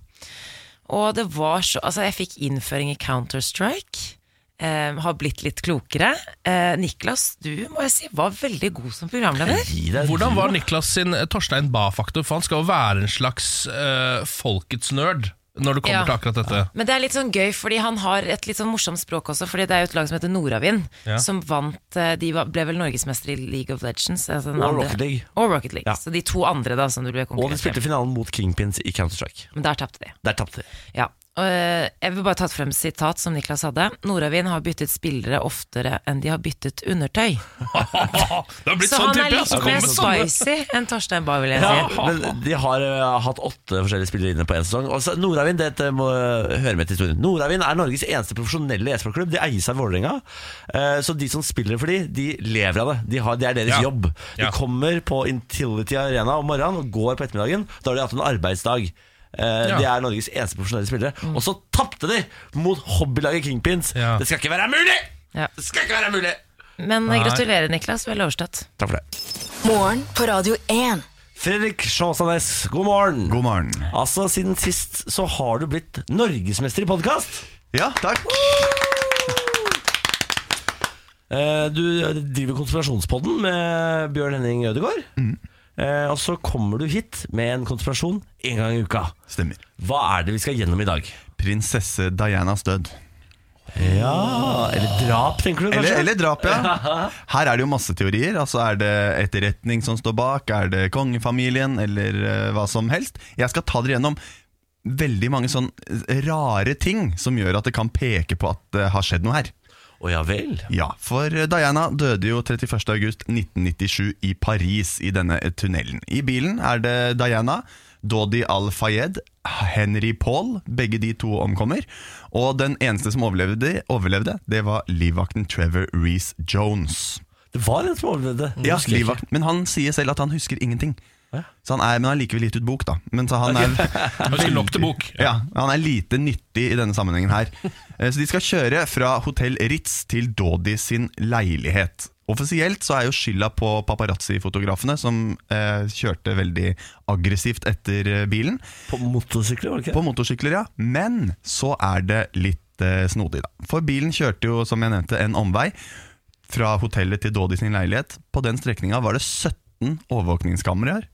S3: Og det var så Altså, jeg fikk innføring i Counter-Strike. eh, har blitt litt klokere. Eh, Niklas, du må jeg si var veldig god som programleder.
S1: Gi deg-
S2: Hvordan var Niklas sin eh, Torstein Bae-faktor? For han skal jo være en slags eh, folkets nerd når det kommer
S3: Ja.
S2: til akkurat dette.
S3: <laughs> Men det er litt sånn gøy, fordi han har et litt sånn morsomt språk også. Fordi det er jo et lag som heter Nordavind,
S2: Ja.
S3: som vant eh, De var- ble vel norgesmester i League of Legends. Altså den
S1: Og
S3: andre-
S1: Rocket League.
S3: Og Rocket League.
S1: Ja.
S3: Så de to andre, da, som du ble
S1: Og de
S3: konkurrert
S1: spilte
S3: med.
S1: finalen mot Kingpins i Counter-Strike.
S3: Men der tapte de.
S1: Der tapte de.
S3: Ja. og, eh, Jeg vil bare ta frem sitat som Niklas hadde. Nordavind har byttet spillere oftere enn de har byttet undertøy.
S2: det har blitt
S3: Så
S2: sånn
S3: han er
S2: type, ja.
S3: litt
S2: Så kommer
S3: mer
S2: det sånne-
S3: spicy enn Torstein Bae, vil jeg
S2: Ja.
S3: si.
S1: Men de har eh, hatt åtte forskjellige spillere inne på én sesong. Og så Nordavind dette må eh, høre med til historien Nordavind er Norges eneste profesjonelle e-sportklubb. De eies av Vålerenga. Eh, Så de som spiller for de, de lever av det. De har, det er deres
S2: Ja.
S1: jobb. De
S2: Ja.
S1: kommer på Intility Arena om morgenen og går på ettermiddagen. Da har de hatt en arbeidsdag. Eh,
S2: Ja. Mm.
S1: De er Norges eneste profesjonelle spillere. Og så tapte de mot hobbylaget Kingpins!
S2: Ja.
S1: Det skal ikke være mulig!
S3: Ja.
S1: Det skal ikke være mulig!
S3: Men eh, gratulerer, Niklas. Vel overstått.
S1: Takk for det.
S7: Morgen på Radio 1.
S1: Fredrik Sjåsanes, god morgen.
S10: God morgen.
S1: Altså, siden sist så har du blitt norgesmester i podkast.
S10: Ja, takk.
S1: Eh, Du driver Konspirasjonspodden med Bjørn Henning Ødegaard.
S10: Mm.
S1: Eh, Og så kommer du hit med en konspirasjon en gang i uka.
S10: Stemmer.
S1: Hva er det vi skal gjennom i dag?
S10: Prinsesse Dianas død.
S1: Ja, Eller drap, tenker du
S10: Eller,
S1: kanskje?
S10: eller drap, ja. Her er det jo masse teorier. Altså Er det etterretning som står bak? Er det kongefamilien? Eller eh, hva som helst. Jeg skal ta dere gjennom veldig mange sånn rare ting som gjør at det kan peke på at det har skjedd noe her.
S1: Å ja vel.
S10: Ja, for Diana døde jo 31. august 1997 i Paris i denne tunnelen. I bilen er det Diana, Dodi Al-Fayed, Henry Paul, begge de to omkommer. Og den eneste som overlevde, overlevde det var livvakten Trevor Reece-Jones.
S1: Det var en som overlevde.
S10: Mm. Ja,
S1: Husker jeg ikke.
S10: livvakten, men han sier selv at han husker ingenting. Så han er, men han har likevel gitt ut bok, da. Men så han er
S2: <laughs> Han skulle nok til bok.
S10: ja, han er lite nyttig i denne sammenhengen her. Eh, Så de skal kjøre fra hotell Ritz til Dodi sin leilighet. Offisielt så er jo skylda på paparazzi-fotografene, som eh, kjørte veldig aggressivt etter eh, bilen.
S1: På motorsykler, var det
S10: På
S1: ikke?
S10: motorsykler, ja. Men så er det litt eh, snodig, da. For bilen kjørte jo, som jeg nevnte, en omvei fra hotellet til Dodi sin leilighet. På den strekninga var det 17 overvåkningskameraer.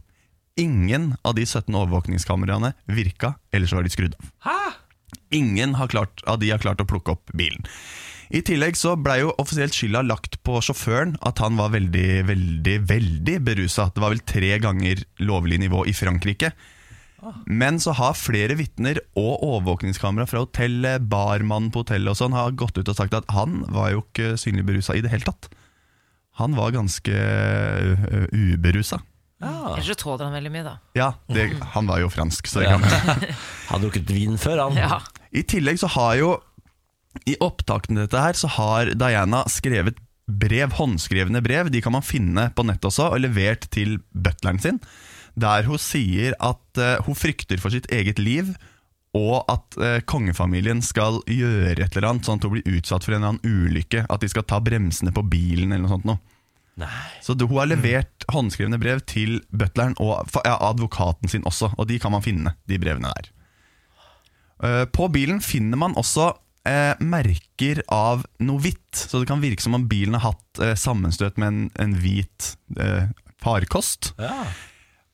S10: Ingen av de 17 overvåkningskameraene virka, ellers var de skrudd av. Ingen har klart, av de har klart å plukke opp bilen. I tillegg så blei jo offisielt skylda lagt på sjåføren, at han var veldig, veldig, veldig berusa. Det var vel tre ganger lovlig nivå i Frankrike. Men så har flere vitner og overvåkningskamera fra hotellet, barmannen på hotellet og sånn, har gått ut og sagt at han var jo ikke synlig berusa i det hele tatt. Han var ganske ø, ø, uberusa.
S3: Ellers så tåler han veldig mye, da.
S10: Ja, det, han var jo fransk, så det
S1: Ja. <laughs>
S10: kan
S1: Har drukket vin før, han.
S3: Ja.
S10: I tillegg så har jo I opptakten til dette her Så har Diana skrevet brev Håndskrevne brev De kan man finne på nett også Og levert til butleren sin Der hun sier at eh, hun frykter for sitt eget liv Og at eh, kongefamilien skal gjøre et eller annet Sånn at hun blir utsatt for en eller annen ulykke At de skal ta bremsene på bilen Eller noe sånt noe så det- hun har levert håndskrevne brev til butleren og fa- ja, advokaten sin også, og de kan man finne, de brevene der. Eh, På bilen finner man også eh, merker av noe hvitt, så det kan virke som om bilen har hatt eh, sammenstøt med en, en hvit eh, farkost.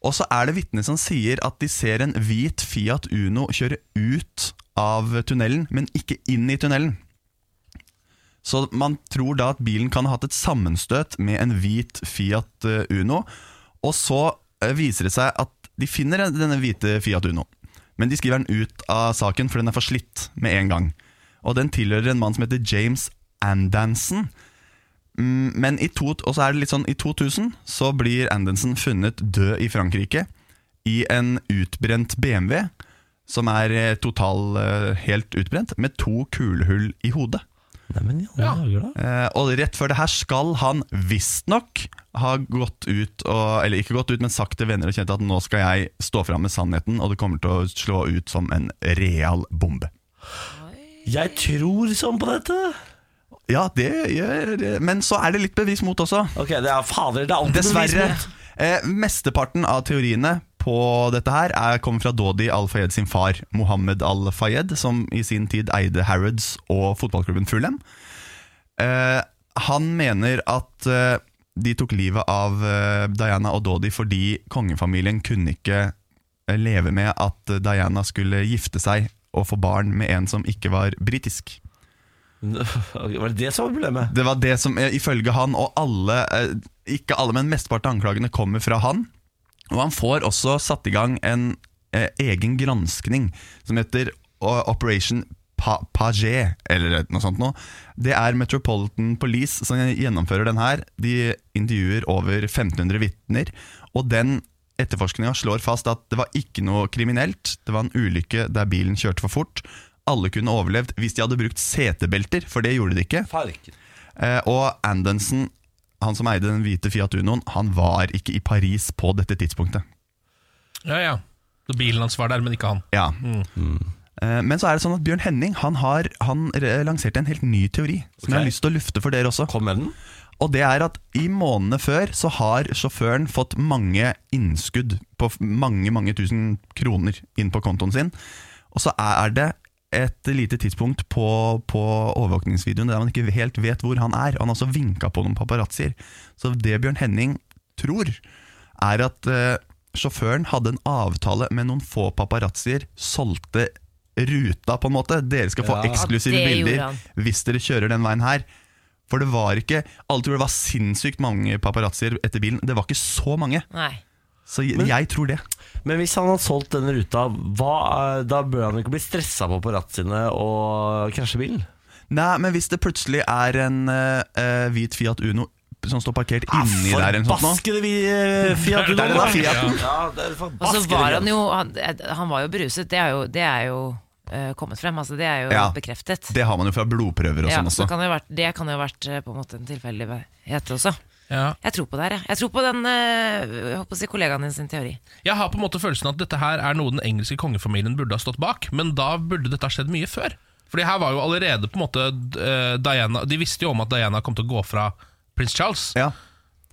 S10: Og så er det vitner som sier at de ser en hvit Fiat Uno kjøre ut av tunnelen, men ikke inn i tunnelen. Så man tror da at bilen kan ha hatt et sammenstøt med en hvit Fiat eh, Uno, og så eh, viser det seg at de finner den- denne hvite Fiat Uno, men de skriver den ut av saken, for den er for slitt med en gang. Og den tilhører en mann som heter James Andansen, Mm, men i, to, og så er det litt sånn, i 2000 så blir Andansen funnet død i Frankrike i en utbrent BMW, som er eh, total, eh, helt utbrent, med to kulehull i hodet.
S1: Neimen, i alle dager, da.
S10: Eh, og rett før det her skal han visstnok ha gått ut og, Eller ikke gått ut, men sagt til venner og kjente at nå skal jeg stå fram med sannheten, og det kommer til å slå ut som en real bombe.
S1: Jeg tror sånn på dette.
S10: Ja, det gjør Men så er det litt bevis mot også.
S1: Ok, det er fader, det er alltid
S10: Dessverre.
S1: bevis mot.
S10: Eh, mesteparten av teoriene på dette her er, kommer fra Dodi Al-Fayed sin far, Mohammed Al-Fayed, som i sin tid eide Harrods og fotballklubben Fulham. Eh, han mener at eh, de tok livet av eh, Diana og Dodi fordi kongefamilien kunne ikke eh, leve med at Diana skulle gifte seg og få barn med en som ikke var britisk.
S1: Ok, Var det det som var problemet?
S10: Det var det som eh, ifølge han og alle, eh, ikke alle, men mesteparten av anklagene kommer fra han. Og han får også satt i gang en eh, egen granskning som heter eh, Operation pa Paget, eller noe sånt noe. Det er Metropolitan Police som gjennomfører den her. De intervjuer over 1500 vitner, og den etterforskninga slår fast at det var ikke noe kriminelt. Det var en ulykke der bilen kjørte for fort. Alle kunne overlevd hvis de hadde brukt setebelter, for det gjorde de ikke.
S1: Farken.
S10: Eh, og Andensen, han som eide den hvite Fiat Unoen, han var ikke i Paris på dette tidspunktet.
S3: sånn.
S2: Ja, ja. Så bilen hans var der, men ikke han.
S10: Ja. Eh, Men så er det sånn at Bjørn Henning Han har han re- lanserte en helt ny teori, som jeg har
S1: Ok.
S10: lyst til å lufte for dere også.
S1: Kom med den.
S10: Og det er at i månedene før så har sjåføren fått mange innskudd på f- mange, mange tusen kroner inn på kontoen sin. Og så er det et lite tidspunkt på, på overvåkningsvideoen der man ikke helt vet hvor han er. Han har også vinka på noen paparazzier. Så det Bjørn Henning tror, er at eh, sjåføren hadde en avtale med noen få paparazzier, solgte ruta på en måte. Dere skal få
S1: Ja.
S3: Det
S10: eksklusive
S3: gjorde
S10: bilder
S3: han.
S10: hvis dere kjører den veien her. For det var ikke Alle tror det var sinnssykt mange paparazzier etter bilen. Det var ikke så mange.
S3: Nei.
S10: Så jeg, jeg tror det.
S1: Men hvis han hadde solgt den ruta, hva, er- da bør han ikke bli stressa på parazziene og krasje bilen?
S10: Nei, men hvis det plutselig er en eh, eh, hvit Fiat Uno som står parkert inni der eller noe sånt sånn nå
S1: Forbaskede vi eh, Fiat
S2: Der- der
S1: Uno,
S2: var
S1: da.
S2: Fiaten.
S1: Ja, det er
S3: Og så
S1: forbaskede
S3: var han
S1: Fiat.
S3: jo Han, eh, han var jo beruset, det er jo, det er jo eh, kommet frem. Altså, det er jo
S10: Ja.
S3: bekreftet.
S10: Det har man jo fra blodprøver og
S3: ja,
S10: sånn
S3: så
S10: også.
S3: kan det, jo vært, det kan jo ha vært eh, på en måte en tilfeldighet også.
S2: Ja.
S3: Jeg tror på det her, jeg. Jeg tror på den eh, jeg håper å si kollegaen din sin teori.
S2: Jeg har på en måte følelsen at dette her er noe den engelske kongefamilien burde ha stått bak, men da burde dette ha skjedd mye før. Fordi her var jo allerede på en måte eh, Diana De visste jo om at Diana kom til å gå fra prins Charles.
S10: Ja.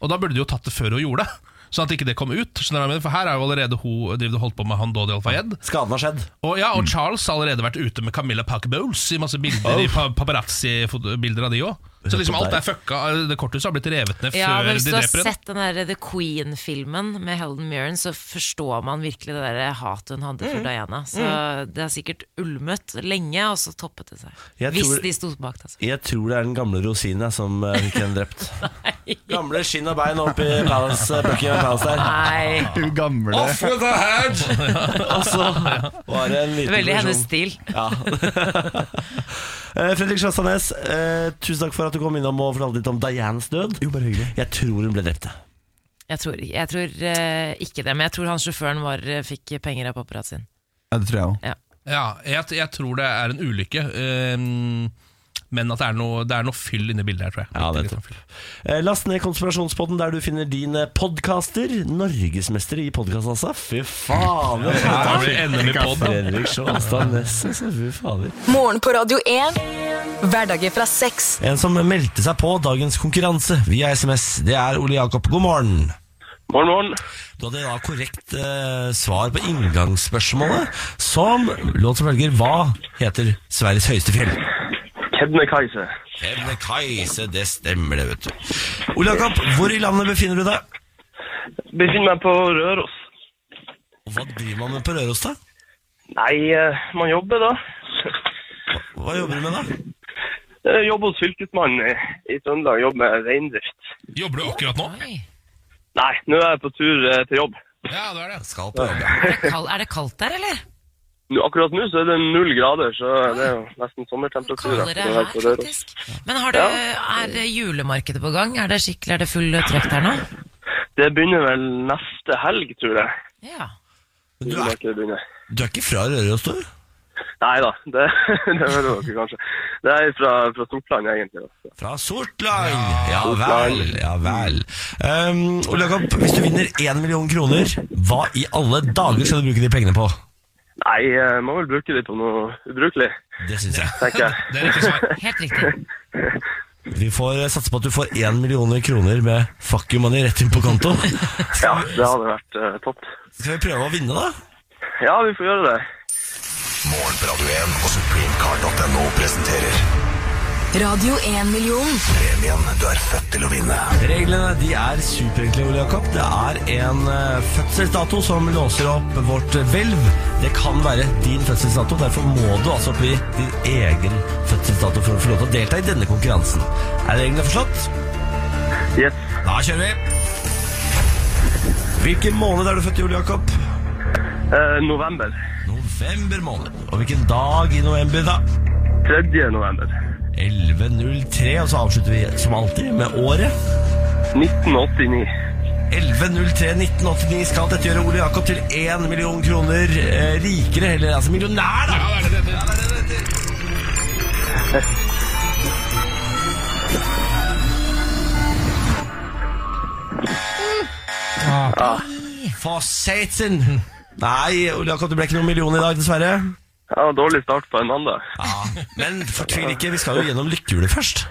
S2: Og da burde de jo tatt det før hun gjorde det. Sånn at ikke det kom ut. skjønner du hva jeg mener? For her er jo allerede hun driver og holdt på med han Dodi Al-Fayed.
S1: Skaden har skjedd.
S2: Og, ja, og Charles har allerede vært ute med Camilla Parker Bowles i masse bilder i pa paparazzi-bilder av de òg. Så liksom alt er fucka. Det korthuset har blitt revet ned
S3: Ja, men
S2: før
S3: Hvis
S2: de
S3: du har
S2: dreper henne.
S3: sett den der The Queen-filmen med Helen Mirren, så forstår man virkelig det der hatet hun hadde for Diana. Så det har sikkert ulmet lenge, og så toppet det seg.
S1: Jeg
S3: hvis
S1: tror-
S3: de sto bak det. Altså.
S1: Jeg tror det er den gamle rosinen som eh, fikk henne drept.
S3: <laughs>
S1: Gamle skinn og bein oppi Palace, eh, Buckingham Palace der.
S3: <laughs> Nei,
S10: Du gamle
S1: Og så var det en liten
S3: veldig hennes
S1: versjon.
S3: stil.
S1: Ja. <laughs> Eh, Fredrik Sjastanes, eh, tusen takk for at du kom innom og fortalte litt om Dianes død.
S10: Jo, bare hyggelig.
S1: Jeg tror hun ble drept. jeg.
S3: Jeg tror, jeg tror eh, ikke det, men jeg tror han sjåføren var, eh, fikk penger av paparazzoen.
S10: Ja, det tror jeg òg.
S2: Ja, jeg, jeg tror det er en ulykke. ehm, men at det er noe, det er noe fyll inni bildet her, tror jeg.
S1: Ja, det
S2: Litt-
S1: tror
S2: litt fyll.
S1: Eh, Last ned Konspirasjonspodden der du finner din eh, podcaster. Norgesmester i podkast, altså. Fy faen! det er
S2: Her blir det endelig podd.
S1: Fredrik Sjastanes, altså. Fy fader.
S7: Morgen på Radio 1. Hverdager fra seks.
S1: En som meldte seg på dagens konkurranse via SMS, det er Ole Jakob. God morgen.
S11: Morgen, morgen.
S1: Du hadde da korrekt eh, svar på inngangsspørsmålet, som låt som følger Hva heter Sveriges høyeste fjell?
S11: Kebnekaise.
S1: Kebnekaise, det stemmer det, vet du. Ole Jakob, hvor i landet befinner du deg?
S11: Befinner meg på Røros.
S1: Og hva driver man med på Røros, da?
S11: Nei, eh, man jobber da.
S1: Hva jobber du med, da?
S11: Eh, Jobber hos fylkesmannen i, i Trøndelag, jobber med reindrift.
S2: Jobber du akkurat nå?
S3: Oi.
S11: Nei, nå er jeg på tur eh, til jobb.
S2: Ja, det er det.
S1: Skal på jobb, ja.
S3: Er det kald- er det kaldt der, eller?
S11: Nå, akkurat nå så er det null grader, så det er jo nesten sommertemperatur.
S3: Kaldere
S11: når jeg
S3: her,
S11: er på Røros.
S3: faktisk. Men har det, er det julemarkedet på gang? Er det skikkelig, er det full trøkk der nå?
S11: Det begynner vel neste helg, tror jeg.
S3: Ja.
S1: Du er,
S11: Julemarkedet begynner.
S1: du er ikke fra Røros, du?
S11: Nei da, det, <laughs> det hører dere kanskje. Det er fra, fra Sortland, egentlig. da.
S1: Fra Sortland! Ja vel, ja vel. Um, Ole Jakob, hvis du vinner én million kroner, hva i alle dager skal du bruke de pengene på?
S11: Nei, eh, man vil bruke det på noe ubrukelig,
S1: Det syns jeg.
S11: tenker jeg.
S2: Det er riktig svar.
S3: Helt riktig.
S1: Vi får eh, satse på at du får én millioner kroner med fuck you money rett inn på konto.
S11: Ja, det hadde vært eh, topp.
S1: Skal vi prøve å vinne, da?
S11: Ja, vi får gjøre det.
S7: Radio 1-million.
S1: Reglene de er superenkle, Ole Jakob. Det er en eh, fødselsdato som låser opp vårt hvelv. Det kan være din fødselsdato, derfor må du altså bli din egen fødselsdato for å få lov til å delta i denne konkurransen. Er reglene forstått?
S11: Yes.
S1: Da kjører vi! Hvilken måned er du født i, Ole Jakob?
S11: Eh, november.
S1: November måned. Og hvilken dag i november, da?
S11: 3. november.
S1: 11.03, og så avslutter vi som alltid med året.
S11: 1989.
S1: 11.03.1989 skal dette gjøre Ole Jakob til 1 million kroner eh, rikere, eller altså millionær, da! Ja, det er det, det, er det, Ah, For satan! Nei, Ole Jakob, det ble ikke noen million i dag, dessverre.
S11: Ja, dårlig start på en mandag.
S1: Men fortvil ikke, vi skal jo gjennom lykkehjulet først.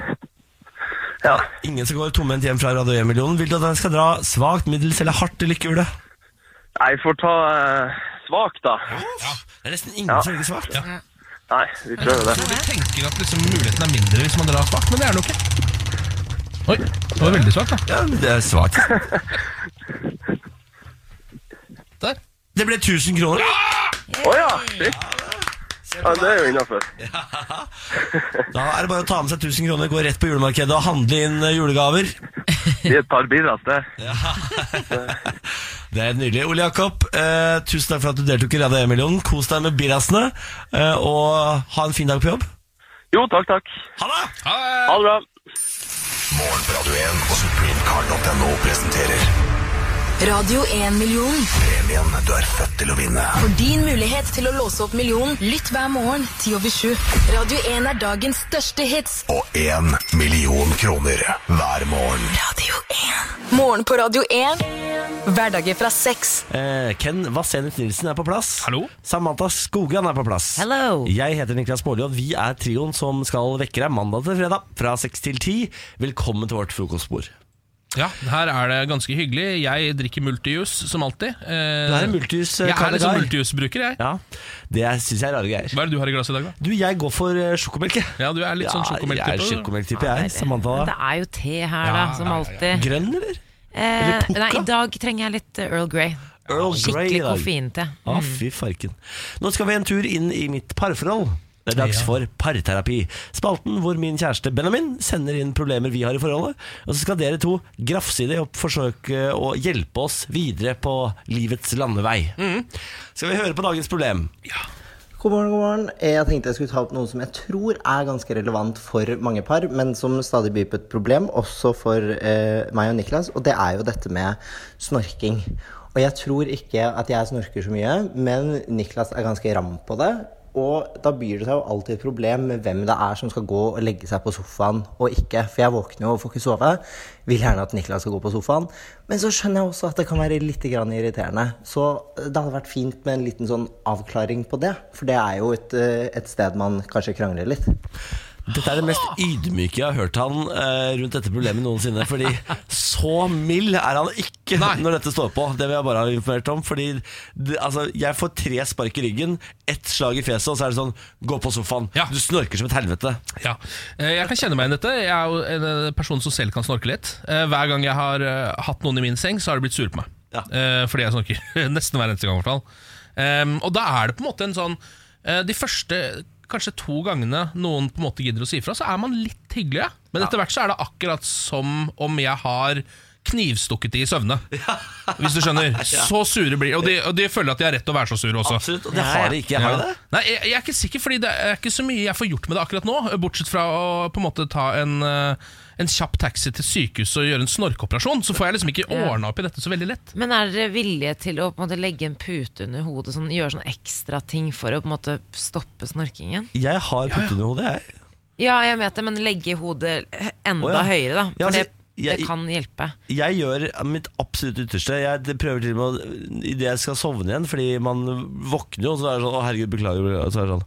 S11: Ja.
S1: Ingen som går tomhendt hjem fra Radio 1-millionen. Vil du at jeg skal dra svakt, middels eller hardt i lykkehjulet?
S11: Jeg får ta eh, svakt, da.
S1: Det er nesten ingen som velger svakt.
S11: Nei, vi prøver det.
S2: Jeg tenker at liksom muligheten er mindre hvis man drar svakt, men det er den jo ikke. Oi, det var veldig svakt, da.
S1: Ja, men det er svakt.
S2: Der.
S1: Det ble 1000 kroner.
S11: Å ja! Shit. Ja, det er jo innafor.
S1: Da er det bare å ta med seg 1000 kroner, gå rett på julemarkedet og handle inn eh, julegaver.
S11: I et par bidrag til.
S1: Det er nydelig. Ole Jakob, eh, tusen takk for at du deltok i Radio 1-millionen. Kos deg med birasene, eh, og ha en fin dag på jobb.
S11: Jo, takk, takk.
S1: Ha det!
S11: Ha det bra.
S7: Radio 1 million.
S12: Premien du er født til å vinne.
S7: For din mulighet til å låse opp millionen, lytt hver morgen 10 over 7. Radio 1 er dagens største hits.
S12: Og én million kroner hver morgen.
S7: Radio 1. Morgen på Radio 1. Hverdager fra seks.
S1: Eh, Ken Vasenus Nilsen er på plass. Hallo Samantha Skogan er på plass.
S3: Hello
S1: Jeg heter Niklas Baarli, og vi er trioen som skal vekke deg mandag til fredag fra seks til ti. Velkommen til vårt frokostbord.
S2: Ja, her er det ganske hyggelig. Jeg drikker multijus som alltid.
S1: Du er en multijus, eh,
S2: Jeg er
S1: Kalle
S2: liksom
S1: Guy.
S2: multijusbruker, jeg.
S1: Ja, Det syns jeg er rare greier.
S2: Hva er det du har i glasset i dag, da?
S1: Du, jeg går for eh, sjokomelk. jeg.
S2: Ja, du er litt sånn
S1: Ja,
S2: sjokomelktype.
S1: Jeg er
S2: du.
S1: sjokomelktype, jeg. Samantha.
S3: Men det er jo te her, da,
S1: Ja,
S3: som
S1: ja, ja,
S3: alltid.
S1: ja. Grønn, eller?
S3: Eh, nei, i dag trenger jeg litt eh, Earl Grey.
S1: Earl Grey i
S3: Skikkelig Mm.
S1: dag.
S3: koffeinte.
S1: Ah, fy farken. Nå skal vi en tur inn i mitt parforhold. Det er dags
S2: Ja.
S1: for parterapi. Spalten hvor min kjæreste Benjamin sender inn problemer vi har i forholdet. Og så skal dere to grafse i det og forsøke å hjelpe oss videre på livets landevei.
S2: Mm.
S1: Skal vi høre på dagens problem?
S13: God morgen, god morgen. Eh, Jeg tenkte jeg skulle ta opp noe som jeg tror er ganske relevant for mange par, men som stadig byr på et problem, også for eh, meg og Niklas, og det er jo dette med snorking. Og jeg tror ikke at jeg snorker så mye, men Niklas er ganske ram på det. Og da byr det seg jo alltid et problem med hvem det er som skal gå og legge seg på sofaen og ikke. For jeg våkner jo og får ikke sove. Vil gjerne at Niklas skal gå på sofaen. Men så skjønner jeg også at det kan være litt grann irriterende. Så det hadde vært fint med en liten sånn avklaring på det. For det er jo et, eh, et sted man kanskje krangler litt.
S1: Dette er det mest ydmyke jeg har hørt han eh, rundt dette problemet noensinne. Fordi så mild er han ikke når dette står på. Det vil jeg bare ha informert om. Fordi det, altså, jeg får tre spark i ryggen, ett slag i fjeset, og så er det sånn Gå på sofaen. Du snorker som et helvete.
S2: Ja. Eh, Jeg kan kjenne meg igjen i dette. Jeg er jo en eh, person som selv kan snorke litt. Eh, Hver gang jeg har eh, hatt noen i min seng, så har de blitt sure på meg. Eh, Fordi jeg snorker. <laughs> Nesten hver eneste gang, i hvert fall. Em, Og da er det på en måte en sånn eh, De første kanskje to gangene noen på en måte gidder å si ifra, så er man litt hyggelig. ja. Men etter hvert så er det akkurat som om jeg har knivstukket de i søvne. Hvis du skjønner.
S1: Ja.
S2: Så sure blir og de. Og de føler at de har rett til å være så sure også.
S1: Absolutt, og det har de ikke. Jeg har det.
S2: Nei, jeg, jeg er ikke sikker, fordi det er ikke så mye jeg får gjort med det akkurat nå. Bortsett fra å på en måte ta en, eh, en kjapp taxi til sykehuset og gjøre en snorkeoperasjon. Så får jeg liksom ikke
S3: Ja.
S2: ordna opp i dette så veldig lett.
S3: Men er dere villige til å på en måte, legge en pute under hodet, sånn, gjøre sånne ekstra ting for å på en måte, stoppe snorkingen?
S1: Jeg har putt under hodet, jeg.
S3: Ja, jeg vet det, men legge hodet enda
S1: Å, ja.
S3: høyere, da. For
S1: Ja, altså,
S3: det,
S1: jeg-
S3: det kan hjelpe.
S1: Jeg gjør mitt absolutt ytterste. Jeg prøver til og med å Idet jeg skal sovne igjen, fordi man våkner jo, og så er det sånn Å, herregud, beklager. beklager», Og så er det sånn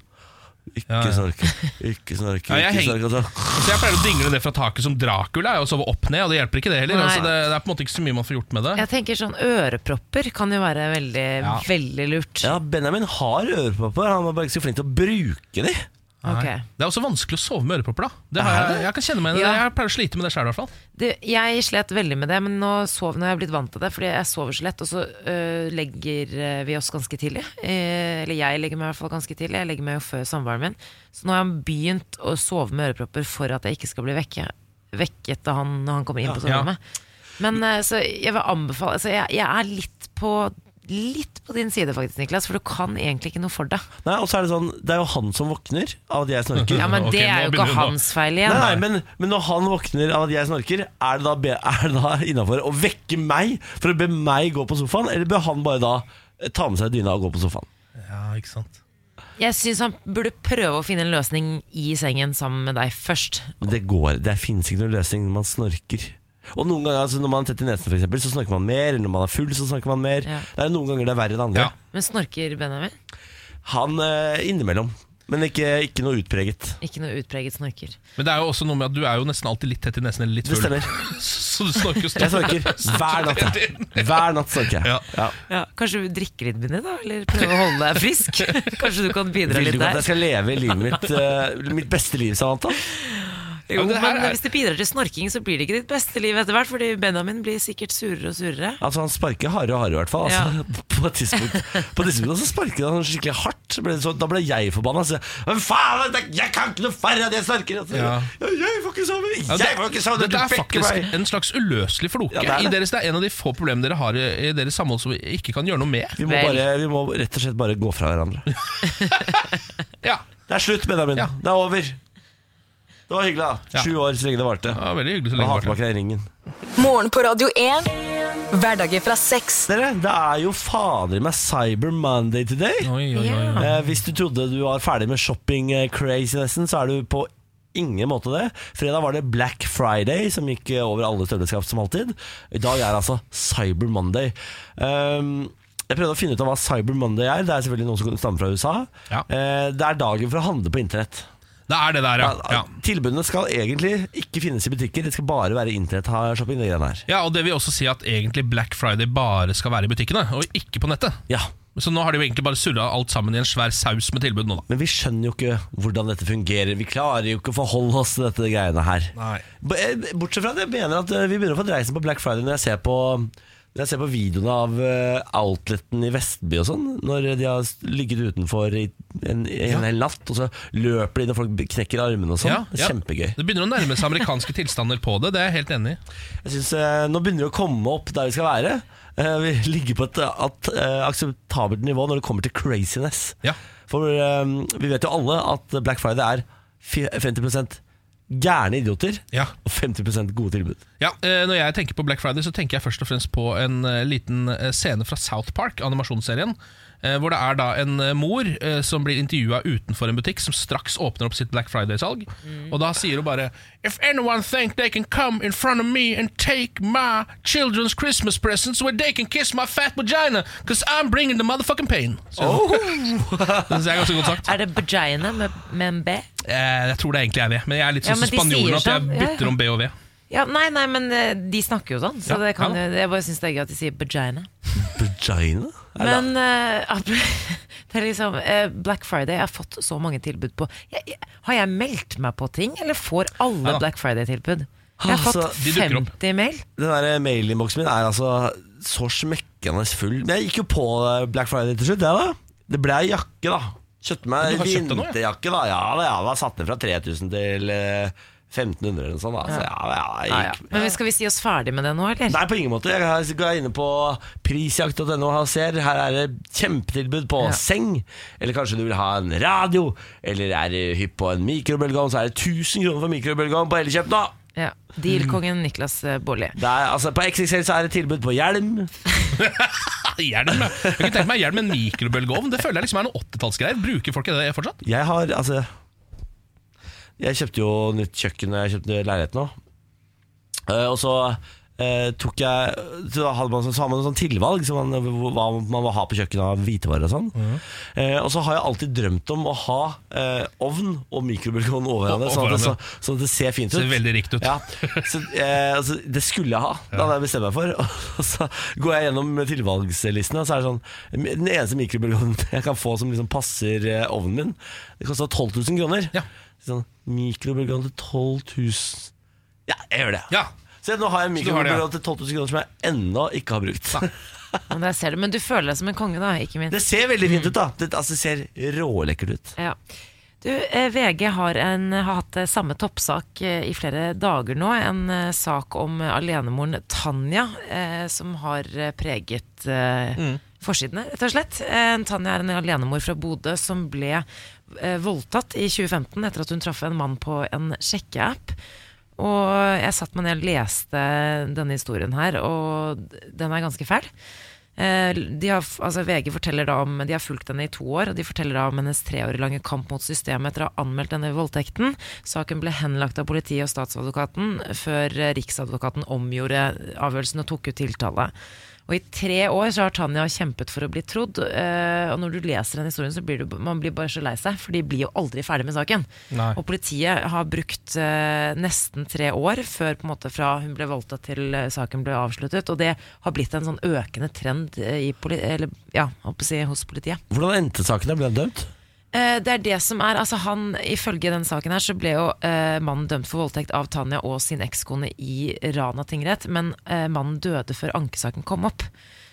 S1: Ikke snorke, ikke snorke,
S2: Ja, jeg henger-
S1: ikke snorke. og så-
S2: Så jeg pleier å dingle ned fra taket som Dracula jeg, og sove opp ned, og det hjelper ikke det heller.
S3: Nei.
S2: Altså, det, det er på en måte ikke så mye man får gjort med det.
S3: Jeg tenker sånn Ørepropper kan jo være veldig,
S1: Ja.
S3: veldig lurt.
S1: Ja, Benjamin har ørepropper. Han er bare ikke så flink til å bruke de.
S3: Ok.
S2: Nei. Det er også vanskelig å sove med ørepropper. da det har
S1: Er
S2: jeg,
S1: det?
S2: jeg kan kjenne meg igjen i det. Jeg pleier å slite med det sjøl, i hvert fall.
S3: Du, jeg slet veldig med det, men nå sov når jeg har blitt vant til det. Fordi jeg sover så lett, og så øh, legger øh, vi oss ganske tidlig. Eh, eller jeg legger meg i hvert fall ganske tidlig. Jeg legger meg jo før samboeren min. Så nå har han begynt å sove med ørepropper for at jeg ikke skal bli vekke, vekket da han, når han kommer inn på
S9: Ja.
S3: soverommet. Men eh, så jeg vil anbefale altså, jeg, jeg er litt på Litt på din side faktisk, Niklas, for du kan egentlig ikke noe for deg.
S1: Nei, og så er Det sånn Det er jo han som våkner av at jeg snorker.
S3: Ja, <laughs> men det Ok, nå er jo ikke begynner hun da. hans feil igjen.
S1: Nei, nei men, men når han våkner av at jeg snorker, er det da, be- er det da innafor å vekke meg for å be meg gå på sofaen, eller bør han bare da eh, ta med seg dyna og gå på sofaen?
S2: Ja, ikke sant
S3: Jeg syns han burde prøve å finne en løsning i sengen sammen med deg først.
S1: Men det går. Det fins ikke noen løsning når man snorker. Og noen ganger altså, Når man er tett i nesen, for eksempel, så snorker man mer. Eller når man er full, så snorker man mer.
S3: Ja.
S1: Det er Noen ganger det er verre enn andre.
S3: Men snorker Benjamin?
S1: Han eh, innimellom. Men ikke, ikke noe utpreget.
S3: Ikke noe utpreget snorker.
S2: Men det er jo også noe med at du er jo nesten alltid litt tett i nesen eller litt
S1: Det
S2: full.
S1: stemmer.
S2: <laughs> så du snorker jo
S1: Jeg snorker hver natt. jeg. Hver natt snorker jeg. Ja.
S3: Ja, kanskje du drikker litt mindre, da? Eller prøve å holde deg frisk? <laughs> Kanskje du kan bidra
S1: Vil
S3: litt
S1: du at
S3: der?
S1: jeg skal leve livet mitt eh, Mitt beste liv, Samantha?
S3: Jo, men Hvis det bidrar til snorking, så blir det ikke ditt beste liv etter hvert. Fordi Benjamin blir sikkert surere og surere.
S1: Altså Han sparker hardere og hardere, i hvert fall. Altså, <laughs> På et tidspunkt På et tidspunkt så sparket han skikkelig hardt. Ble det så, da ble jeg forbanna. Så, jeg, Men faen, det- jeg kan ikke noe færre enn jeg snorker! Altså.
S2: Ja.
S1: Jeg får ikke sove!
S2: Ja,
S1: Jeg får ikke sove!
S2: dette
S1: Du
S2: er
S1: vekker
S2: faktisk
S1: meg!
S2: en slags uløselig floke.
S1: Ja, det er det.
S2: I deres, det er en av de få problemene dere har i, i deres samhold som vi ikke kan gjøre noe med.
S1: Vi må, bare, vi må rett og slett bare gå fra hverandre. Det er slutt, Benjamin. Det er over. Det var hyggelig, da. Sju år så lenge det varte.
S2: Ja, veldig hyggelig så
S1: Og
S2: lenge
S1: ha
S2: det varte.
S1: tilbake deg ringen.
S7: Morgen på Radio 1. Hverdager fra sex.
S1: Dere, det er jo fader meg Cyber Monday today. Eh, hvis du trodde du var ferdig med shopping-crazinessen, så er du på ingen måte det. Fredag var det Black Friday, som gikk eh, over alle støvleskap som alltid. I dag er det altså Cyber Monday. Um, jeg prøvde å finne ut av hva Cyber Monday er. Det er selvfølgelig noe som stammer fra USA. Eh, det er dagen for å handle på internett.
S2: Det er det der, ja. ja.
S1: Tilbudene skal egentlig ikke finnes i butikker, det skal bare være internett-shopping. det greiene her.
S2: Ja, og det vil også si at egentlig Black Friday bare skal være i butikkene, og ikke på nettet. Så nå har de jo egentlig bare surra alt sammen i en svær saus med tilbud nå, da.
S1: Men vi skjønner jo ikke hvordan dette fungerer. Vi klarer jo ikke å forholde oss til dette greiene her. B- eh, Bortsett fra at jeg mener at eh, vi begynner å få dreisen på Black Friday når jeg ser på når jeg ser på videoene av eh, outleten i Vestby og sånn, når de har ligget utenfor i en, en hel natt, og så løper de inn og folk knekker armene og sånn.
S2: Ja,
S1: Det
S2: ja.
S1: er Kjempegøy.
S2: Det begynner å nærme seg amerikanske tilstander på det, det er jeg helt enig i.
S1: Jeg synes, eh, Nå begynner det å komme opp der vi skal være. Eh, vi <laughs> ligger på et eh, at, eh, akseptabelt nivå når det kommer til craziness. For eh, vi vet jo alle at Black Friday er fi- 50 gærne idioter og 50 gode tilbud.
S2: Ja, eh, Når jeg tenker på Black Friday, så tenker jeg først og fremst på en eh, liten eh, scene fra South Park, animasjonsserien. eh, Hvor det er da en eh, mor eh, som blir intervjua utenfor en butikk, som straks åpner opp sitt Black Friday-salg.
S3: Mm.
S2: Og da sier hun bare If anyone think they can come in front of me and take my children's Christmas presents where they can kiss my fat vagina, cause I'm bringing the motherfucking pain. Så,
S3: Oh.
S2: <laughs> det synes jeg er ganske godt sagt.
S3: Er det vagina med, med en B?
S2: Eh, Jeg tror det egentlig er det, men jeg er litt
S3: Ja,
S2: sånn
S3: men de
S2: som
S3: sier
S2: spanjolen at jeg
S3: sånn. Ja, ja.
S2: bytter om B og V.
S3: Ja, nei, nei, men eh, de snakker jo sånn, så
S2: Ja,
S3: det kan,
S2: ja.
S3: jo- jeg bare syns det er gøy at de sier vagina.
S1: Vagina? Er det-
S3: Men eh, ap- <laughs> det er liksom eh, Black Friday, jeg har fått så mange tilbud på jeg, jeg, Har jeg meldt meg på ting, eller får alle
S1: Ja da.
S3: Black Friday-tilbud? Jeg har
S1: Ah, så
S3: fått
S1: de dukker opp.
S3: 50 mail.
S1: Den der mailinnboksen min er altså så smekkende full. Men jeg gikk jo på eh, Black Friday til slutt, jeg, da. Det ble jakke, da. Kjøpte meg
S2: Men du har kjøpt deg noe, ja?
S1: vinterjakke, da. Ja da, ja da. Satt ned fra 3000 til eh, 1500 eller noe sånt. Da. Så ja, ja, jeg gikk
S3: Men skal vi si oss ferdig med det nå, eller?
S1: Nei, på ingen måte. Jeg har- går inne på prisjakt.no og ser. Her er det kjempetilbud på seng. Eller kanskje du vil ha en radio, eller er du hypp på en mikrobølgeovn, så er det 1000 kroner for mikrobølgeovn på Elkjøp nå!
S3: Ja. Dealkongen Niklas eh, Baarli.
S1: Det er, altså, på XXL så er det tilbud på hjelm.
S2: Hjelm, ja. Jeg kunne tenkt meg hjelm med en mikrobølgeovn. Det føler jeg liksom er noen 80-tallsgreier. Bruker folk det fortsatt?
S1: Jeg har, altså Jeg kjøpte jo nytt kjøkken da jeg kjøpte leilighet nå. Eh, og så eh, tok jeg Så da hadde man, så har man en sånn tilvalg som man, hva man må ha på kjøkkenet av hvitevarer og sånn.
S2: Mhm.
S1: Eh, og så har jeg alltid drømt om å ha eh, ovn og mikrobølgeovn
S2: Og-
S1: over hverandre,
S2: og
S1: sånn at det,
S2: hverandre.
S1: så, sånn at det ser fint ut.
S2: Ser veldig rikt ut.
S1: Ja. Så, eh, altså, det skulle jeg ha, det hadde jeg bestemt meg for. <laughs> Og så går jeg gjennom tilvalgslisten, og så er det sånn Den eneste mikrobølgeovnen <laughs> jeg kan få som liksom passer eh, ovnen min, det kosta 12 000 kroner. Sånn, mikrobølgeovn til 12 000 Ja, jeg gjør det. Så nå har jeg en
S2: Så du har det, ja.
S1: mikrobølgeovn til 12 000 kroner som jeg ennå ikke har brukt.
S3: Men, jeg ser det. men du føler deg som en konge, da, ikke minst.
S1: Det ser veldig fint ut, da. Det altså, det ser rålekkert ut.
S3: Ja. Du, eh, VG har, en, har hatt eh, samme toppsak eh, i flere dager nå. En eh, sak om eh, alenemoren Tanja, eh, som har eh, preget eh,
S9: Mm.
S3: forsidene, rett og slett. Eh, Tanja er en alenemor fra Bodø som ble eh, voldtatt i 2015 etter at hun traff en mann på en sjekkeapp. Og jeg satt meg ned og leste denne historien her, og d- den er ganske fæl. Eh, De har, f- altså VG forteller da om De har fulgt henne i to år, og de forteller da om hennes tre år lange kamp mot systemet etter å ha anmeldt denne voldtekten. Saken ble henlagt av politiet og statsadvokaten før eh, Riksadvokaten omgjorde avgjørelsen og tok ut tiltale. Og I tre år så har Tanja kjempet for å bli trodd. eh, og når du leser den historien, så blir du, man blir bare så lei seg, for de blir jo aldri ferdig med saken.
S9: Nei.
S3: Og politiet har brukt eh, nesten tre år før på en måte fra hun ble voldtatt til eh, saken ble avsluttet. Og det har blitt en sånn økende trend eh, i poli eller, ja, holdt på å si, hos politiet.
S1: Hvordan endte saken? da? Ble han dømt?
S3: Eh, Det er det som er, altså han Ifølge den saken her så ble jo eh, mannen dømt for voldtekt av Tanja og sin ekskone i Rana tingrett, men eh, mannen døde før ankesaken kom opp.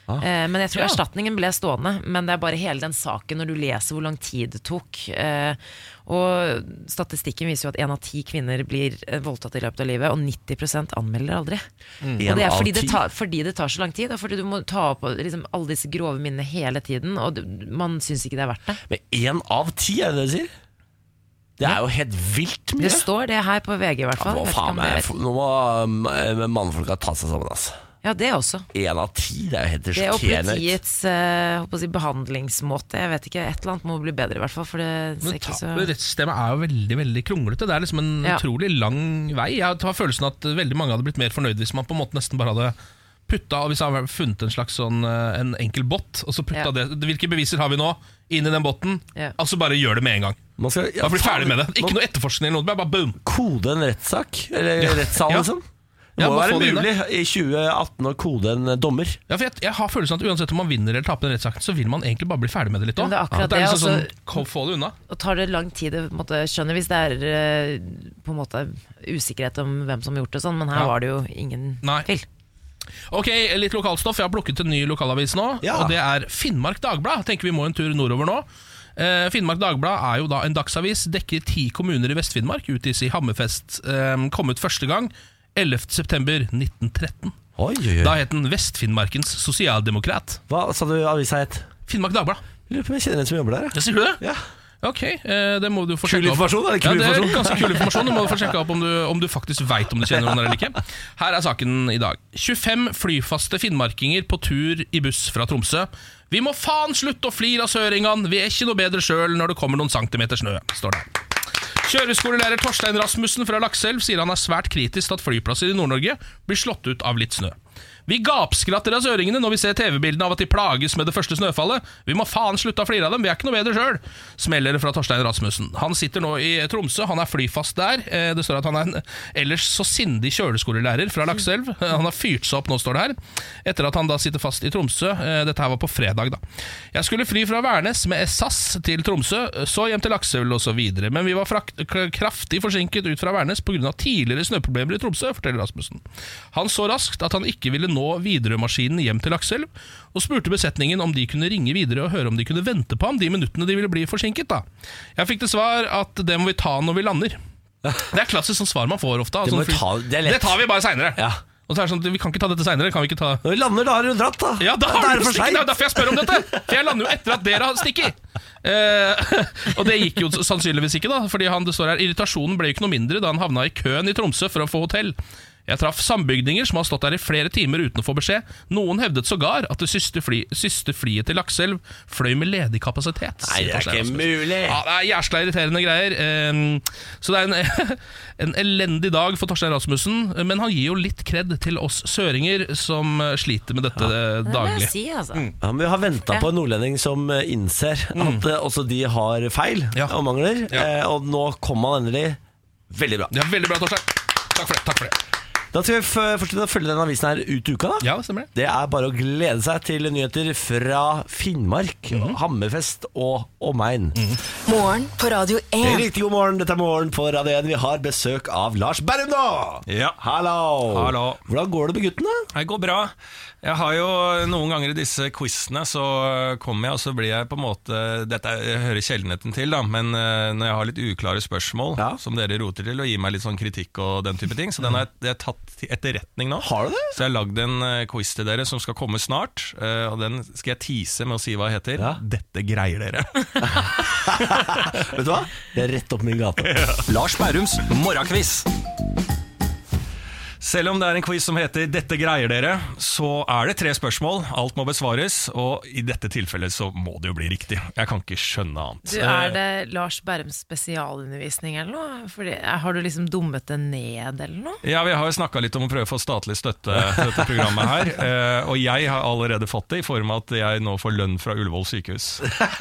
S9: Ah.
S3: Eh, men jeg tror
S9: Ja.
S3: erstatningen ble stående. Men det er bare hele den saken, når du leser hvor lang tid det tok. Eh, og statistikken viser jo at én av ti kvinner blir eh, voldtatt i løpet av livet, og 90 anmelder aldri.
S9: Mm.
S3: Og det
S9: En
S3: er
S9: av
S3: fordi det,
S9: ti?
S3: tar, fordi det tar så lang tid, og fordi du må ta opp liksom, alle disse grove minnene hele tiden, og du, man syns ikke det er verdt det.
S1: Men én av ti, er det det du sier? Det er jo helt vilt mye.
S3: Det står det her på VG i hvert fall.
S1: Å,
S3: Jeg vet ikke
S1: faen
S3: om det
S1: meg,
S3: er-
S1: eh, nå må um, mannfolka ta seg sammen, altså.
S3: Ja, det også.
S1: Én av ti, det er jo helt
S3: Det og
S1: sjokkerende.
S3: politiets eh, håper å si, behandlingsmåte. Jeg vet ikke, Et eller annet må bli bedre, i hvert fall. For det ser
S2: Men
S3: ikke
S2: ta-
S3: så
S2: Rettssystemet er jo veldig veldig kronglete. Det er liksom en
S3: Ja.
S2: utrolig lang vei. Jeg har følelsen at veldig mange hadde blitt mer fornøyd hvis man på en måte nesten bare hadde putta og hvis jeg hadde funnet en slags sånn eh, En enkel bot, og så putta
S3: Ja.
S2: det Hvilke beviser har vi nå? Inn i den boten.
S3: Ja.
S2: Altså bare gjør det med en gang.
S1: Man skal,
S2: da blir vi ferdig med det. Ikke noe etterforskning eller noe. Bare boom.
S1: Kode en rettssak, eller
S2: Ja.
S1: rettssal,
S2: Ja.
S1: liksom. Det
S2: Ja,
S1: må
S2: bare
S1: være
S2: få det inn
S1: mulig
S2: der.
S1: i 2018 å kode en eh, dommer.
S2: Ja, for jeg, jeg har følelsen at uansett om man vinner eller taper den rettssaken, så vil man egentlig bare bli ferdig med det litt
S3: Men
S2: òg.
S3: det er akkurat
S2: det er
S3: det,
S2: liksom
S3: altså-
S2: sånn, kom- få det unna.
S3: Og tar det lang tid å på en måte, skjønne hvis det er eh, på en måte usikkerhet om hvem som har gjort det sånn, men her
S2: Ja.
S3: var det jo ingen
S2: Nei. Ok, litt lokalstoff. Jeg har plukket en ny lokalavis nå, og det er Finnmark Dagblad. Tenker vi må en tur nordover nå. Eh, Finnmark Dagblad er jo da en dagsavis, dekker ti kommuner i Vest-Finnmark. Utgis i Hammerfest. Eh, kom ut første gang 11.9.1913.
S1: Oi, oi, oi.
S2: Da het den Vest-Finnmarkens sosialdemokrat.
S1: Hva sa du avisa het?
S2: Finnmark Dagblad.
S1: Lurer på om jeg kjenner en som jobber der.
S2: Ja, sier du det? Ok, eh, det må du få
S1: Kul
S2: sjekke opp.
S1: informasjon, er det kul
S2: ja, det er
S1: informasjon?
S2: ganske kul informasjon. Du må få sjekke opp om du, om du faktisk veit om du kjenner noen eller ikke. Her er saken i dag. 25 flyfaste finnmarkinger på tur i buss fra Tromsø. Vi må faen slutte å flire av søringene, vi er ikke noe bedre sjøl når det kommer noen centimeter snø, står det. Kjøreskolelærer Torstein Rasmussen fra Lakselv sier han er svært kritisk til at flyplasser i Nord-Norge blir slått ut av litt snø. Vi gapskratter av søringene når vi ser TV-bildene av at de plages med det første snøfallet. Vi må faen slutte å flire av dem, vi er ikke noe bedre sjøl! Smeller det fra Torstein Rasmussen. Han sitter nå i Tromsø, han er flyfast der. Eh, Det står at han er en ellers så sindig kjøleskolelærer fra Lakselv. <laughs> Eh, Han har fyrt seg opp nå, står det her. Etter at han da sitter fast i Tromsø. Eh, Dette her var på fredag, da. Jeg skulle fly fra Værnes med SAS til Tromsø, så hjem til Lakselv og så videre. Men vi var frakt k- kraftig forsinket ut fra Værnes pga. tidligere snøproblemer i Tromsø, forteller Rasmussen. Han så raskt at han ikke ville nå Widerøe-maskinen hjem til Lakselv, og spurte besetningen om de kunne ringe Widerøe og høre om de kunne vente på ham de minuttene de ville bli forsinket. da. Jeg fikk til svar at det må vi ta når vi
S1: <laughs>
S2: lander. Det er klassisk sånn svar man får ofte.
S1: Det
S2: altså,
S1: må vi ta- det er lett.
S2: det tar vi bare seinere. Og så er det sånn, at Vi kan ikke ta dette seinere. Kan vi ikke ta
S1: Når vi lander, da har du dratt, da.
S2: ja, da
S1: Da er
S2: har
S1: det
S2: du
S1: for
S2: stikket,
S1: sent.
S2: det er jo derfor jeg spør om dette! For jeg lander jo etter at dere har stikket. Eh, og det gikk jo sannsynligvis ikke, da. Fordi han, det står her Irritasjonen ble jo ikke noe mindre da han havna i køen i Tromsø for å få hotell. Jeg traff sambygdinger som har stått der i flere timer uten å få beskjed. Noen hevdet sågar at det siste, fly, siste flyet til Lakselv fløy med ledig kapasitet.
S1: Nei, det er
S2: sier Torstein
S1: ikke
S2: Rasmussen.
S1: mulig.
S2: Ja, det er jævla irriterende greier. Eh, Så det er en, <laughs> en elendig dag for Torstein Rasmussen, men han gir jo litt kred til oss søringer som sliter med dette eh,
S3: Det må
S2: daglig.
S3: jeg si, altså.
S1: Ja, men Vi har venta
S3: Ja.
S1: på en nordlending som eh, innser
S2: Mm.
S1: at eh, også de har feil og mangler. eh, Og nå kom han endelig. Veldig bra.
S2: Ja, veldig bra, Torstein. Takk for det. takk for det
S1: Da skal vi f- fortsette å følge denne avisen her ut uka. da
S2: Ja, stemmer Det
S1: Det er bare å glede seg til nyheter fra Finnmark,
S9: Mhm.
S1: Hammerfest og omegn.
S7: Morgen på Radio 1.
S1: Riktig god morgen, dette er Morgen på Radio 1. Vi har besøk av Lars Berrum nå!
S9: Ja.
S1: Hallo!
S9: Hallo.
S1: Hvordan går det med guttene?
S9: Det går bra. Jeg har jo noen ganger i disse quizene så kommer jeg, og så blir jeg på en måte Dette er- jeg hører sjeldenheten til, da, men eh, når jeg har litt uklare spørsmål som dere roter til, og gir meg litt sånn kritikk og den type ting, så den har jeg, det er tatt til etterretning nå.
S1: Har du det?
S9: Så jeg har lagd en eh, quiz til dere som skal komme snart, eh, og den skal jeg tease med å si hva heter. Dette greier dere.
S1: Vet du hva? Det er rett opp min gate.
S9: Lars Bærums morgenkviss. Selv om det er en quiz som heter 'Dette greier dere', så er det tre spørsmål. Alt må besvares, og i dette tilfellet så må det jo bli riktig. Jeg kan ikke skjønne annet.
S3: Du, er det Lars Berums spesialundervisning eller noe? Fordi, har du liksom dummet det ned eller noe?
S9: Ja, Vi har jo snakka litt om å prøve å få statlig støtte til dette programmet <laughs> her. eh, Og jeg har allerede fått det, i form av at jeg nå får lønn fra Ullevål sykehus.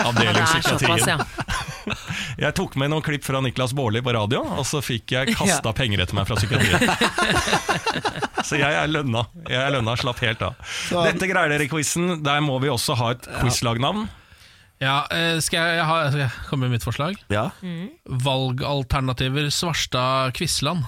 S9: Avdeling
S3: Ja, det er såpass,
S9: psykiatrien.
S3: ja.
S9: Jeg tok med noen klipp fra Niklas Baarli på radio, og så fikk jeg kasta
S2: Ja.
S9: penger etter meg fra
S2: <laughs>
S9: psykiatrien. Så jeg er lønna. Jeg er lønna, slapp helt av. Dette greier dere i quizen. Der må vi også ha et quizlagnavn.
S2: Ja, eh, skal jeg, ha, skal jeg komme med mitt forslag?
S1: Ja.
S3: Mm.
S2: Valgalternativer Svarstad-Quisland.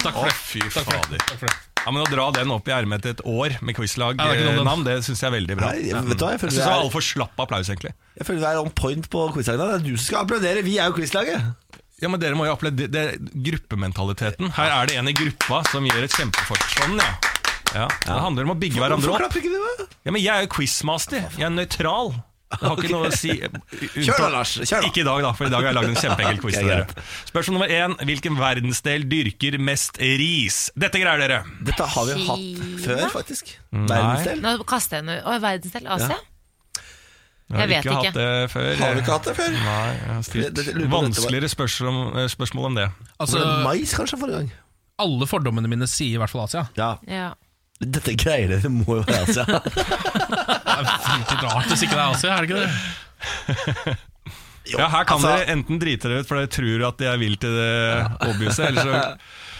S2: Takk for det.
S9: Fy
S2: Takk for det.
S9: fader. Ja, men Å dra den opp i ermet til et år med
S2: Ja, det er ikke noe
S9: quizlagnavn, det syns jeg er veldig bra.
S1: Nei, jeg- vet du hva, jeg
S9: jeg syns
S1: føler det
S9: det
S1: er-
S9: var altfor slapp applaus, egentlig.
S1: Jeg føler vi er on point på quizlaget. Det er du som skal applaudere. Vi er jo quizlaget.
S9: Ja, men Dere må jo oppleve det, det er gruppementaliteten. Her er det en i gruppa som gjør et kjempeforsvann. Ja. Ja, Det handler om å bygge hverandre
S1: Hvorfor
S9: opp.
S1: klapper ikke du? da?
S9: Ja, men Jeg er jo quizmaster. Jeg er nøytral. Det har ikke noe å si
S14: Kjør da, Lars, kjør da.
S9: Ikke i dag, da, for i dag har jeg lagd en kjempeenkel quiz.
S14: Ok,
S9: til dere Spørsmål nummer én Hvilken verdensdel dyrker mest ris? Dette greier dere.
S1: Dette har
S9: vi
S3: hatt før,
S1: faktisk.
S9: Verdensdel?
S15: Nå kaster jeg noe. Å, verdensdel Asia?
S9: Jeg har
S15: Jeg
S9: ikke
S15: vet
S9: hatt det før.
S15: Har du ikke hatt det før?
S9: Nei, jeg har
S1: Det- det-
S9: stilt
S1: jeg lurer på om dette var-
S9: vanskeligere spørsmål om, eh, spørsmål om det.
S2: Altså, Var det mais,
S1: kanskje, forrige gang?
S2: Alle fordommene mine sier i hvert fall Asia.
S15: Ja.
S1: Dette greier dere må jo være altså. Asia.
S2: Litt rart hvis ikke det er Asia, er det ikke det?
S9: ja, her kan
S2: altså-
S9: dere enten drite dere ut, for dere tror at jeg vil til det obviouse, eller så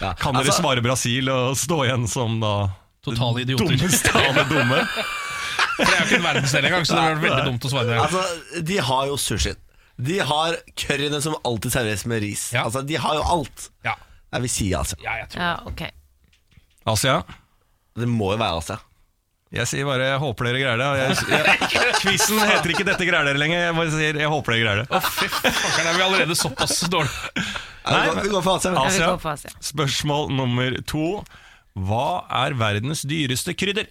S1: Ja,
S9: kan dere
S1: altså-
S9: svare Brasil og stå igjen som da
S2: Totale idioter.
S9: Dummeste av det dumme.
S2: For det er jo ikke en verdensdel engang, så det hadde vært veldig dumt å svare.
S1: Altså, de har jo sushien. De har curryene som alltid serveres med ris. Altså, De har jo alt. Jeg vil si Asia.
S15: ja, ok.
S9: Asia?
S1: Det må jo være altså. Asia.
S9: Jeg sier bare 'jeg håper dere greier det'. Jeg, jeg, quizen heter ikke 'dette greier dere' lenger. Jeg bare sier 'jeg håper dere greier det'.
S2: Fakkeren er vi allerede såpass dårlige.
S9: Nei,
S1: vi går- vi går for altså. Asia.
S9: men-
S1: Ja, vi går for Asia.
S9: Spørsmål nummer to. Hva er verdens dyreste krydder?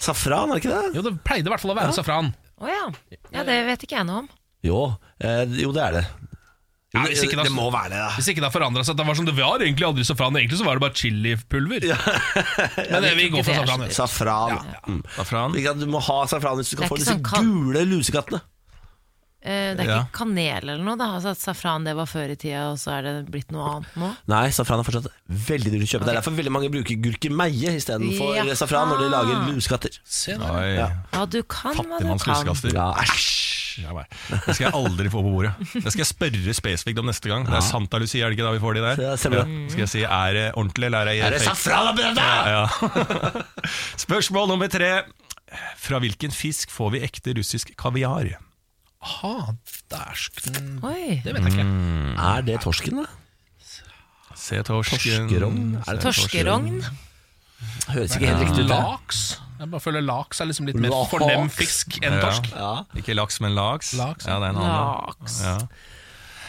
S1: Safran, er det ikke det?
S2: Jo, det pleide i hvert fall å være safran.
S15: Å ja. ja. Det vet ikke jeg noe om.
S1: Jo, eh, jo det er det.
S2: Ja, hvis ikke
S1: det må være det, da.
S2: Hvis ikke det har forandra seg. at Det var som det var egentlig aldri safran. Egentlig så var det bare
S1: <laughs>
S2: chilipulver. Men det, vi går for safran. ja.
S1: Safran. Mm. Ikke at Du må ha safran hvis du
S15: Det er
S1: skal få
S15: ikke
S1: disse
S15: sånn
S1: gule lusekattene.
S15: Eh, det er
S1: Ja.
S15: ikke kanel eller noe, da? Altså at safran det var før i tida, og så er det blitt noe annet nå?
S1: Nei, safran er fortsatt veldig dyrt å kjøpe. Det er derfor veldig mange bruker gurkemeie istedenfor
S15: Jaha.
S1: safran når de lager lusekatter.
S9: Ja.
S15: Ja, du kan hva du
S9: Fattigmanns
S15: kan.
S9: huskaster. Æsj! Ja, nei. Det skal jeg aldri få på bordet. Det skal jeg spørre spesifikt om neste gang. Det
S1: Ja.
S9: er Santa Lucia, er det ikke da vi får de der?
S1: Ja, stemmer det.
S9: Ja. Skal jeg si er det ordentlig, eller er det
S1: Er det
S9: fake?
S1: safran oppi dette?
S9: Ja, ja. Spørsmål nummer tre. Fra hvilken fisk får vi ekte russisk kaviar?
S2: Aha, dæsken
S15: Oi.
S2: Det vet jeg ikke.
S1: Er det torsken, da?
S9: Se torsken
S1: Torskerogn?
S2: Mm.
S1: Er det
S15: Torskerogn?
S1: Høres ikke helt riktig ut. det.
S2: Laks? Jeg bare føler laks er liksom litt mer
S9: Laks.
S2: fornem fisk enn torsk.
S9: Ja. Ikke laks, men laks.
S2: Laks.
S9: Ja, det er en annen.
S2: Laks.
S9: Ja.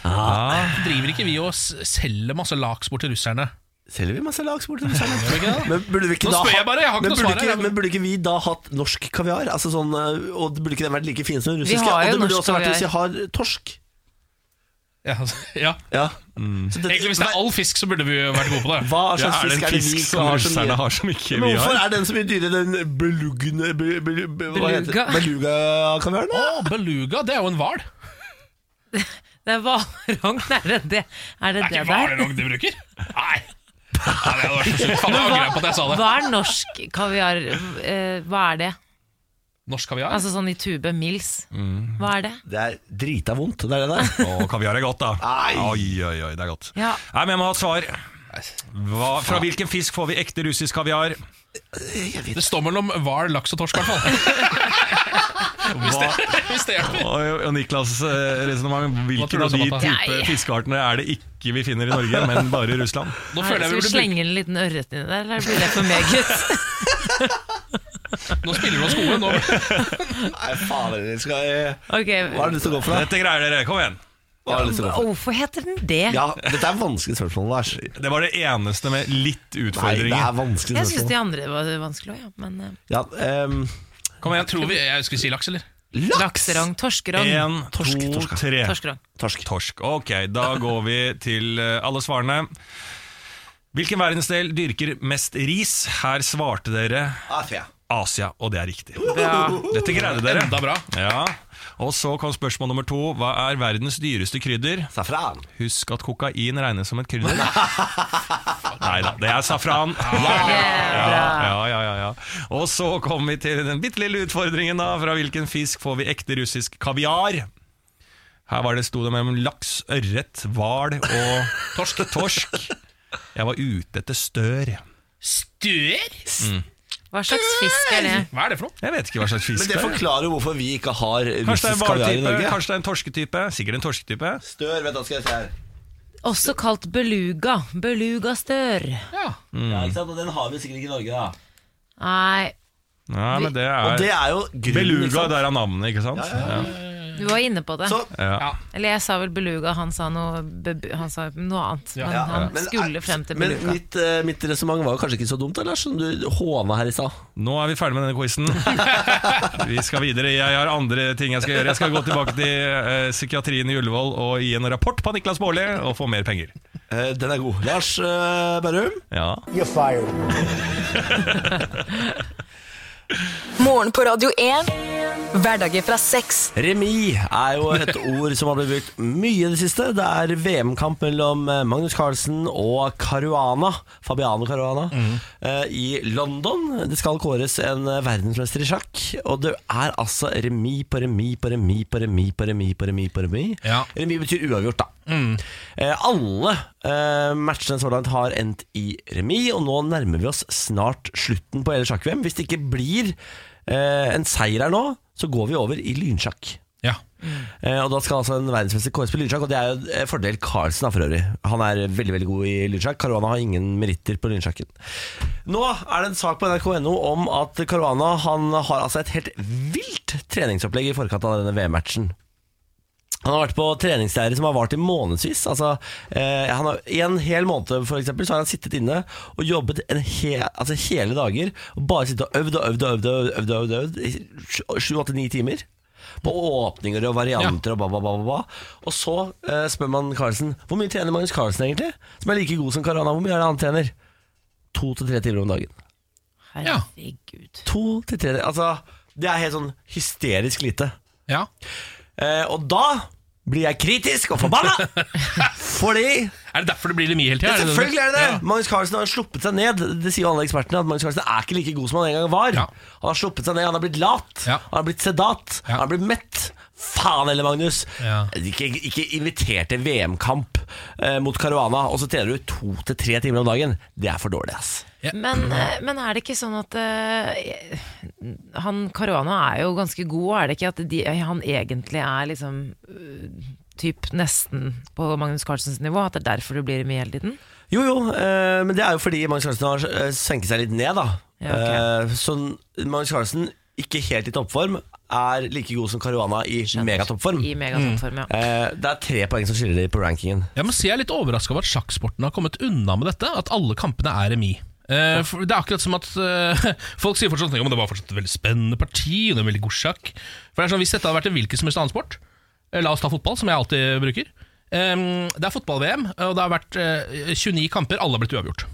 S2: Ah. Driver ikke vi og s- selger masse laks bort til russerne?
S1: Selger vi masse laks bort til
S2: <laughs>
S1: russerne?
S2: Gjør vi ikke det?
S1: Men burde vi ikke
S2: Nå
S1: da
S2: spør jeg
S1: ha-
S2: bare, jeg har ikke
S1: men
S2: noe
S1: burde
S2: svar her,
S1: Ikke,
S2: jeg-
S1: men burde ikke vi da hatt norsk kaviar? Altså sånn, øh, og Burde ikke den vært like fin som den
S15: Vi
S1: russiske?
S15: har jo
S1: og det burde
S15: norsk
S1: også vært hvis vi
S15: kaviar.
S1: har torsk.
S2: Ja, altså,
S1: <laughs>
S2: ja.
S1: Så det-
S2: Egentlig Hvis det er all fisk, så burde vi jo vært gode på det.
S1: Hva slags fisk er det vi ikke har så mye? Men Hvorfor er den så mye dyrere enn den belugne be, be, be, Hva heter det?
S2: Beluga.
S1: Beluga-kaviaren? da?
S2: Å, beluga, det er jo en hval.
S15: Det er hvalrogn, er det det? Er det,
S2: Det er
S15: det
S2: ikke
S15: der?
S2: hvalrogn de bruker? Nei. Nei, det hadde vært så sykt. Faen, jeg angrer på at jeg sa det.
S15: Hva er norsk kaviar eh, Hva er det?
S2: Norsk kaviar?
S15: Altså sånn i tube, mils. Hva er det?
S1: Det er drita vondt, det er det der.
S9: Å, kaviar er godt, da. Oi, oi, oi, det er godt.
S15: Ja.
S9: Nei, men jeg må ha et svar. Hva, fra hvilken fisk får vi ekte russisk kaviar?
S2: Det står mellom hval, laks og torsk, i hvert
S9: <laughs>
S2: fall. Hvis det, <laughs> hvis det hjelper.
S9: Og, og Niklas' eh, resonnement Hvilken
S2: tror du,
S9: av de
S2: Samantha?
S9: type
S15: Nei.
S9: fiskeartene er det ikke vi finner i Norge, men bare i Russland?
S2: Nå
S15: Er
S2: føler
S15: det- Skal vi
S2: jeg vi burde
S15: slenge altså, en liten ørret inni der, eller blir det for meget?
S2: Nå spiller du
S9: <laughs>
S2: oss gode. Nå.
S1: Nei, faen, dere skal jeg...
S15: Ok.
S1: Hva har du lyst til å gå for, da?
S9: Dette greier dere. Kom igjen.
S1: Hva har du lyst til å gå for?
S15: Hvorfor heter den det?
S1: Ja, dette er vanskelige spørsmål, Lars.
S9: Det var det eneste med litt utfordringer.
S1: Nei, det er vanskelige
S15: Jeg syns de
S1: spørsmål.
S15: andre var vanskelig òg, ja. men eh,
S1: Ja, ehm,
S2: Kom igjen, jeg tror vi Jeg skulle si laks, eller?
S15: Lakserogn, torskerogn.
S9: En, to, tre.
S15: Torskerogn.
S1: Torsk.
S9: Ok, da går vi til eh, alle svarene. Hvilken verdensdel dyrker mest ris? Her svarte dere
S1: Asia.
S9: Asia, og det er riktig.
S1: Bra.
S9: Dette greide dere.
S2: Enda bra.
S9: Ja. Og så kom spørsmål nummer to. Hva er verdens dyreste krydder?
S1: Safran.
S9: Husk at kokain regnes som et krydder. Nei da, det er safran. Ja, ja, ja, ja. Og så kom vi til den bitte lille utfordringen, da. Fra hvilken fisk får vi ekte russisk kaviar? Her var det, sto det mellom laks, ørret, hval og torsk. Jeg var ute etter stør.
S2: Stuer?
S15: Hva slags fisk er det?
S9: Mm.
S2: Hva er det for noe?
S9: Jeg vet ikke hva slags fisk
S1: Men det forklarer jo hvorfor vi ikke har
S9: Kanskje det er en
S1: russisk kaviar i
S9: hvaltype,
S1: Norge.
S9: kanskje det er en torsketype. Sikkert en torsketype.
S1: Stør, vet du hva skal jeg si her.
S15: Også kalt beluga. Belugastør.
S1: Ja, ikke sant? Og den har vi sikkert ikke i Norge, da.
S15: Nei,
S9: Nei, men det er,
S1: Og det er jo grunnen, liksom. ikke
S9: Beluga,
S1: sant?
S9: der er navnet, ikke sant? Ja,
S3: Du var inne på det.
S1: Ja.
S3: Eller jeg sa vel beluga, han sa noe, bebu- han sa noe annet. Men
S1: Ja.
S3: han
S1: Men,
S3: skulle frem til
S1: Men
S3: beluga.
S1: mitt, eh, mitt resonnement var jo kanskje ikke så dumt, da, Lars, som du håna her i stad.
S9: Nå er vi ferdig med denne quizen. Vi skal videre. Jeg har andre ting jeg skal gjøre. Jeg skal gå tilbake til eh, psykiatrien i Ullevål og gi en rapport på Niklas Baarli og få mer penger. Eh,
S1: den er god. Lars eh, Berrum?
S9: Ja.
S16: You're fired.
S7: Morgen på Radio 1. Hverdager fra seks.
S1: Remis er jo et ord som har blitt brukt mye i det siste. Det er VM-kamp mellom eh, Magnus Carlsen og Caruana, Fabiano Caruana, eh, i London. Det skal kåres en eh, verdensmester i sjakk, og det er altså remis på remis på remis på remis på remis på remis. på remis. Remis betyr uavgjort, da. Eh, alle eh, matchene så langt har endt i remis, og nå nærmer vi oss snart slutten på hele sjakk-VM. Hvis det ikke blir eh, en seier her nå, så går vi over i lynsjakk. Eh, og Da skal altså en verdensmester kåres på lynsjakk, og det er jo en fordel Carlsen har for øvrig. Han er veldig veldig god i lynsjakk. Caruana har ingen meritter på lynsjakken. Nå er det en sak på nrk.no om at Caruana han har altså et helt vilt treningsopplegg i forkant av denne VM-matchen. Han har vært på treningsleirer som har vart i månedsvis. Altså, eh, han har, I en hel måned for eksempel, så har han sittet inne og jobbet en he, altså, hele dager. Og bare sittet og øvd og øvd og øvd, og øvd, og øvd, og øvd i sju- sju, åtte, ni timer. På åpninger og varianter og ba, ba, ba, ba, ba. Og så eh, spør man Carlsen hvor mye trener Magnus Carlsen egentlig? Som er like god som Carana. Hvor mye er det han trener? To til tre timer om dagen.
S3: Herregud.
S1: To til tre Altså, det er helt sånn hysterisk lite.
S2: Ja.
S1: Eh, og da blir jeg kritisk og forbanna! Fordi
S2: Er det derfor det blir remis hele tida?
S1: ja, selvfølgelig er det det! Magnus Carlsen har sluppet seg ned. Det sier jo alle ekspertene, at Magnus Carlsen er ikke like god som han en gang var. Han har sluppet seg ned, han har blitt lat, han har blitt sedat, han har blitt mett. Faen heller, Magnus!
S2: Ja.
S1: Ikke, ikke invitert til VM-kamp eh, mot Caruana, og så trener du to til tre timer om dagen. Det er for dårlig, ass.
S3: Men, eh, men er det ikke sånn at eh, han Caruana er jo ganske god, og er det ikke at de, han egentlig er liksom eh, typ nesten på Magnus Carlsens nivå? At det er derfor du blir med hele tiden?
S1: Jo, jo, eh, men det er jo fordi Magnus Carlsen har eh, senket seg litt ned, da. Eh, så Magnus Carlsen, ikke helt i toppform, er like god som Caruana i megatoppform.
S3: I megatoppform, ja.
S1: Eh, det er tre poeng som skiller de på rankingen.
S2: Ja, men så jeg er litt overraska over at sjakksporten har kommet unna med dette. At alle kampene er remis. Eh, for det er akkurat som at eh, <laughs> folk sier fortsatt at det var fortsatt et veldig spennende parti. Og det var veldig god sjakk For det er sånn, Hvis dette hadde vært en hvilken som helst annen sport, eh, la oss ta fotball, som jeg alltid bruker. eh, det er fotball-VM, og det har vært eh, 29 kamper. Alle har blitt uavgjort.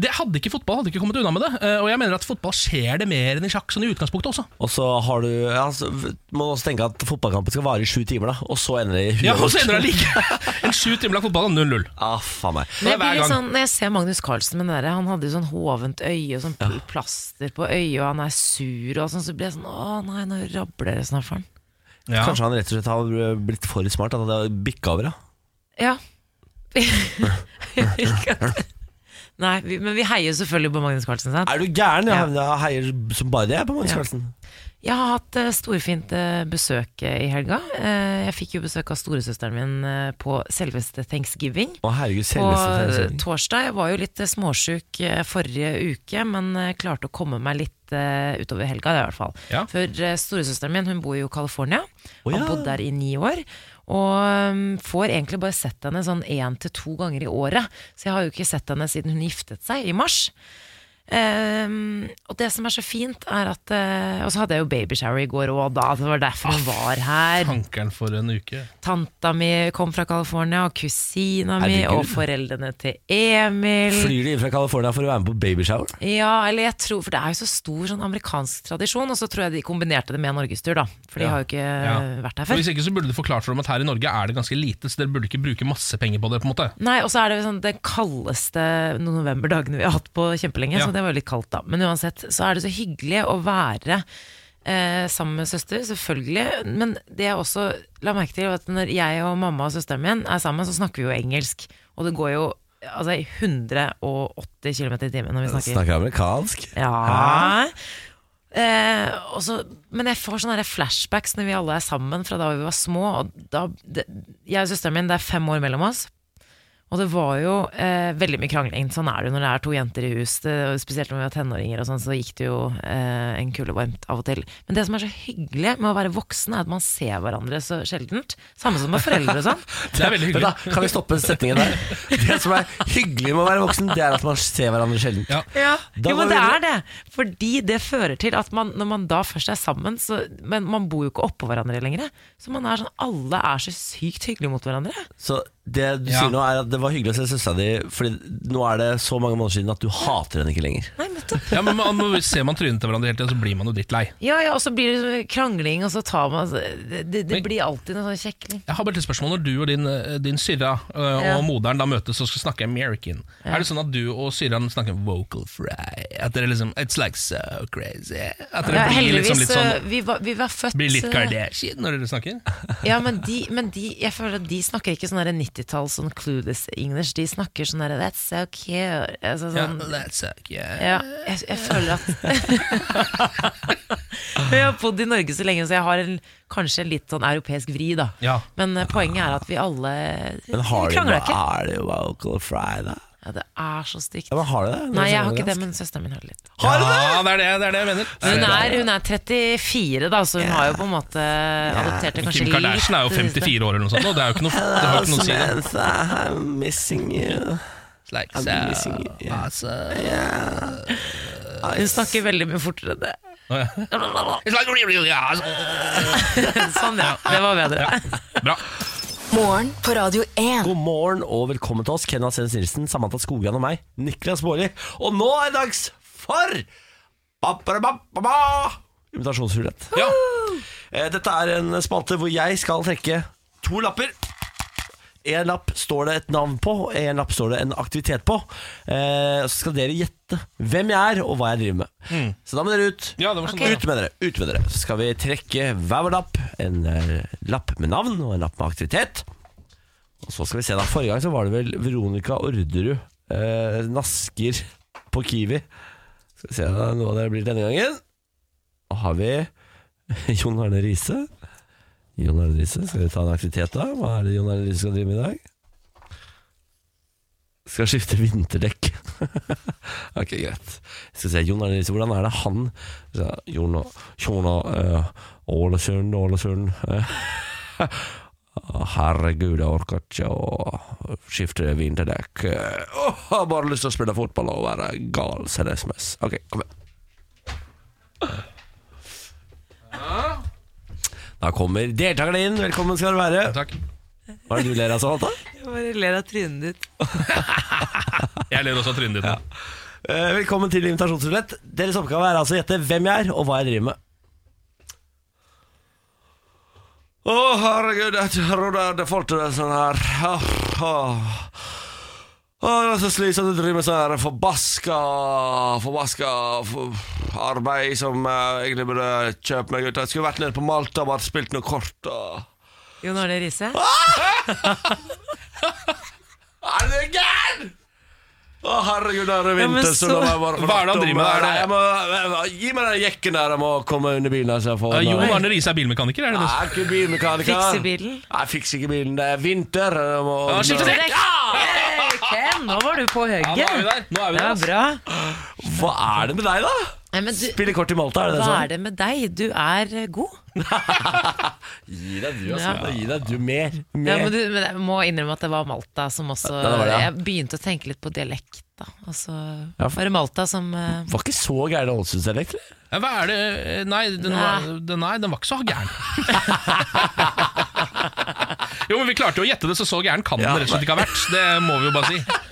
S2: Det hadde ikke fotball hadde ikke kommet unna med det. eh, og jeg mener at fotball skjer det mer enn i sjakk sånn i utgangspunktet også.
S1: Og så har du ja, så må du også tenke at fotballkampen skal vare i sju timer, da. Og så ender det i
S2: Ja, og så ender det like En sju timer lang fotball og 0-0.
S1: Ah, faen meg.
S3: Men jeg blir litt sånn, når jeg ser Magnus Carlsen med den der, han hadde jo sånn hovent øye og sånn pl- plaster på øyet, og han er sur og sånn, så blir jeg sånn Å nei, nå rabler det snart for han. Ja.
S1: Kanskje han rett og slett har blitt for smart? At det har bikka over, ja.
S3: Ja. <laughs> nei, vi, men vi heier jo selvfølgelig på Magnus Carlsen, sant?
S1: Er du gæren? Jeg
S3: Ja.
S1: jeg heier som bare det jeg, på Magnus
S3: Ja.
S1: Carlsen.
S3: Jeg har hatt eh, storfint eh, besøk eh, i helga. Eh, Jeg fikk jo besøk av storesøsteren min eh, på selveste thanksgiving.
S1: Å herregud,
S3: på
S1: selveste
S3: eh,
S1: thanksgiving.
S3: torsdag. Jeg var jo litt eh, småsjuk eh, forrige uke, men eh, klarte å komme meg litt eh, utover helga, det i hvert fall. For eh, storesøsteren min hun bor jo i California.
S1: Å,
S3: Har
S1: ja.
S3: bodd der i ni år. Og um, får egentlig bare sett henne sånn én til to ganger i året. Så jeg har jo ikke sett henne siden hun giftet seg i mars. Ehm, og det som er så fint, er at eh, Og så hadde jeg jo babyshower i går òg, da. Det var derfor
S1: Ah,
S3: hun var her.
S2: Tankeren for en uke.
S3: Tanta mi kom fra California, og kusina mi,
S1: Herregud.
S3: og foreldrene til Emil.
S1: Flyr de inn fra California for å være med på babyshower?
S3: Ja, eller jeg tror, for det er jo så stor sånn amerikansk tradisjon, og så tror jeg de kombinerte det med en norgestur, da. For de
S2: Ja.
S3: har jo ikke
S2: Ja.
S3: vært her
S2: Og
S3: før.
S2: Hvis ikke så burde du forklart for dem at her i Norge er det ganske lite, så dere burde ikke bruke masse penger på det. på en måte
S3: Nei, og så er det sånn den kaldeste novemberdagene vi har hatt på kjempelenge,
S2: Ja.
S3: så det var jo litt kaldt da. Men uansett, så er det så hyggelig å være eh, sammen med søster, selvfølgelig. Men det jeg også la merke til, var at når jeg og mamma og søsteren min er sammen, så snakker vi jo engelsk. Og det går jo altså, i 180 km i timen når vi snakker.
S1: Snakker amerikansk?
S3: Ja. Eh, og så- men jeg får sånne her flashbacks når vi alle er sammen fra da vi var små. Og da, det, jeg og søsteren min, det er fem år mellom oss. Og det var jo eh, veldig mye krangling. Sånn er det jo når det er to jenter i hus. Det, og spesielt når vi var tenåringer, og sånn, så gikk det jo eh, en kule varmt av og til. Men det som er så hyggelig med å være voksen, er at man ser hverandre så sjeldent. Samme som med foreldre og sånn.
S2: Det er <laughs> veldig hyggelig.
S1: Men da, kan vi stoppe setningen der? Det som er hyggelig med å være voksen, det er at man ser hverandre sjelden. Ja. Da
S3: jo, men
S1: går
S3: det
S1: vi
S3: er det. Fordi det fører til at man, når man da først er sammen så, Men man bor jo ikke oppå hverandre lenger. Så man er sånn, alle er så sykt hyggelige mot hverandre.
S1: Så det du
S3: Ja.
S1: sier nå er at det var hyggelig å se søstera di, Fordi nå er det så mange måneder siden at du hater henne ikke lenger.
S2: Ja, men man, man, Ser man trynet til hverandre hele tiden, så blir man jo drittlei.
S3: Ja, ja, og så blir det krangling, og så tar man Det, det, det blir alltid noe sånn kjekling.
S2: Jeg har bare et spørsmål Når du og din, eh, din Syrra eh,
S3: Ja.
S2: og moderen da møtes og skal snakke American,
S3: Ja.
S2: er det sånn at du og Syrran snakker vocal fry? At dere liksom It's like so crazy. At dere
S3: Ja,
S2: blir
S3: heldigvis,
S2: liksom litt
S3: eh,
S2: sånn
S3: vi, var, vi var født
S2: Blir litt
S3: eh,
S2: Kardashian når dere snakker?
S3: Ja, men de, men de Jeg føler at de snakker ikke sånn der 90-talls sånn clueless English. De snakker sånn der That's so cute. Altså,
S2: Ja,
S3: sånn,
S2: that's so cute.
S3: Ja, jeg, jeg føler at Men <laughs> Jeg har bodd i Norge så lenge, så jeg har en, kanskje en litt sånn europeisk vri, da.
S1: Ja.
S3: Men eh, poenget er at vi alle
S1: Men har
S3: vi
S1: de,
S3: krangler ikke.
S1: er det jo vocal fry, da?
S3: Ja, det er så stygt.
S1: Ja, men har de det?
S3: Nei, jeg har ikke det, men søsteren min har det litt.
S1: Har du det?
S2: Ja, det er det, det er det jeg mener.
S3: Hun er, hun er 34, da, så hun har jo på en måte adoptert det kanskje
S2: Kim Kardashian er jo 54 år eller noe sånt, og det er jo ikke noe, det har jo ikke noe å si. det.
S1: I'm missing you.
S2: Like
S1: I'm
S2: so,
S1: missing you.
S3: Hun snakker veldig mye fortere enn det. <laughs>
S2: Å, ja. It's like really, really, yeah.
S3: sånn, ja. Det var bedre.
S1: Morgen på Radio 1. God morgen og velkommen til oss, Kenna Sens Nilsen, Samantha Skogran og meg, Niklas Baarli. Og nå er det dags for Ba-ba-ba-ba-ba! Invitasjonsrullett. Eh, Dette er en spalte hvor jeg skal trekke to lapper. En lapp står det et navn på, og en lapp står det en aktivitet på. Eh, Så skal dere gjette hvem jeg er, og hva jeg driver med. Så da må dere ut.
S2: sånn Ok. Mm. det var.
S1: Ut med dere. ut med dere Så skal vi trekke hver vår lapp. En eh, lapp med navn og en lapp med aktivitet. Og så skal vi se da Forrige gang så var det vel Veronica Orderud eh, Nasker på Kiwi. Skal vi se da noe av det blir denne gangen. Og har vi <laughs> Jon Arne Riise. Jon Arne Riise, skal vi ta en aktivitet da? Hva er det Jon Arne Riise skal drive med i dag? Skal skifte vinterdekk. <laughs> ok, greit. Skal se, Jon Arne Riise, hvordan er det han så, Jon Jon eh, Ålesund, Ålesund <laughs> eh. Herregud, jeg orker ikke å skifte vinterdekk. Eh, åh, jeg har bare lyst til å spille fotball og være gal, send SMS. Ok, kom igjen. Da kommer deltakerne inn. Velkommen skal dere være. Takk Hva er det du ler av, Samantha?
S3: <laughs> Jeg bare ler av trynet ditt.
S2: Jeg ler også av trynet ditt. nå.
S1: Eh, Velkommen til invitasjonsrulett. Deres oppgave er altså å gjette hvem jeg er, og hva jeg driver med. Å, herregud, jeg trodde jeg hadde falt til det sånn her. Åh, åh. Åh, det er så slitsomt å drive med sånn her forbaska, forbaska for arbeid som jeg egentlig burde kjøpe meg ut. Jeg skulle vært nede på Malta og bare spilt noe kort. og...
S3: Jon Arne Riise?
S1: Er du gæren?! Å, herregud, det er
S3: Ja, men
S1: vinter, så
S3: så-
S1: la meg bare
S2: Hva er det han driver med? Er det-
S1: Jeg må, jeg må, gi meg den jekken der, jeg må komme under bilen. Altså, jeg får
S2: Ja,
S1: den
S2: Jon
S1: der.
S2: Arne Riise er bilmekaniker, er det
S1: Jeg
S2: det?
S1: er ikke bilmekaniker.
S2: Fikser
S3: bilen?
S1: Jeg fikser ikke bilen. Det er vinter. Jeg må,
S2: Ja, skifte dekk!
S3: Hey, Ken, nå var du på hugget.
S2: Ja, nå er vi der. Nå er vi
S3: det
S2: der altså.
S3: var bra.
S1: Hva er det med deg, da?
S3: Nei, men du,
S1: Spille kort i Malta, er det det
S3: hva
S1: sånn?
S3: er det med deg? Du er eh, god.
S1: Gi deg, du, altså.
S3: Ja.
S1: Gi deg, du. Mer.
S3: Ja,
S1: mer.
S3: men, du, men jeg må innrømme at det var Malta som også
S1: Ja, det var det, ja.
S3: Jeg begynte å tenke litt på dialekt, da. Og så
S1: Ja, for-
S3: var det Malta som eh,
S1: Var ikke så gæren Ålesundsdialekt, eller?
S2: Ja, Hva er det eh, Nei, den var, den, nei, den var ikke så gæren. <laughs> jo, men vi klarte jo å gjette det, så så gæren kan den rett og slett ikke ha vært. Det må vi jo bare si.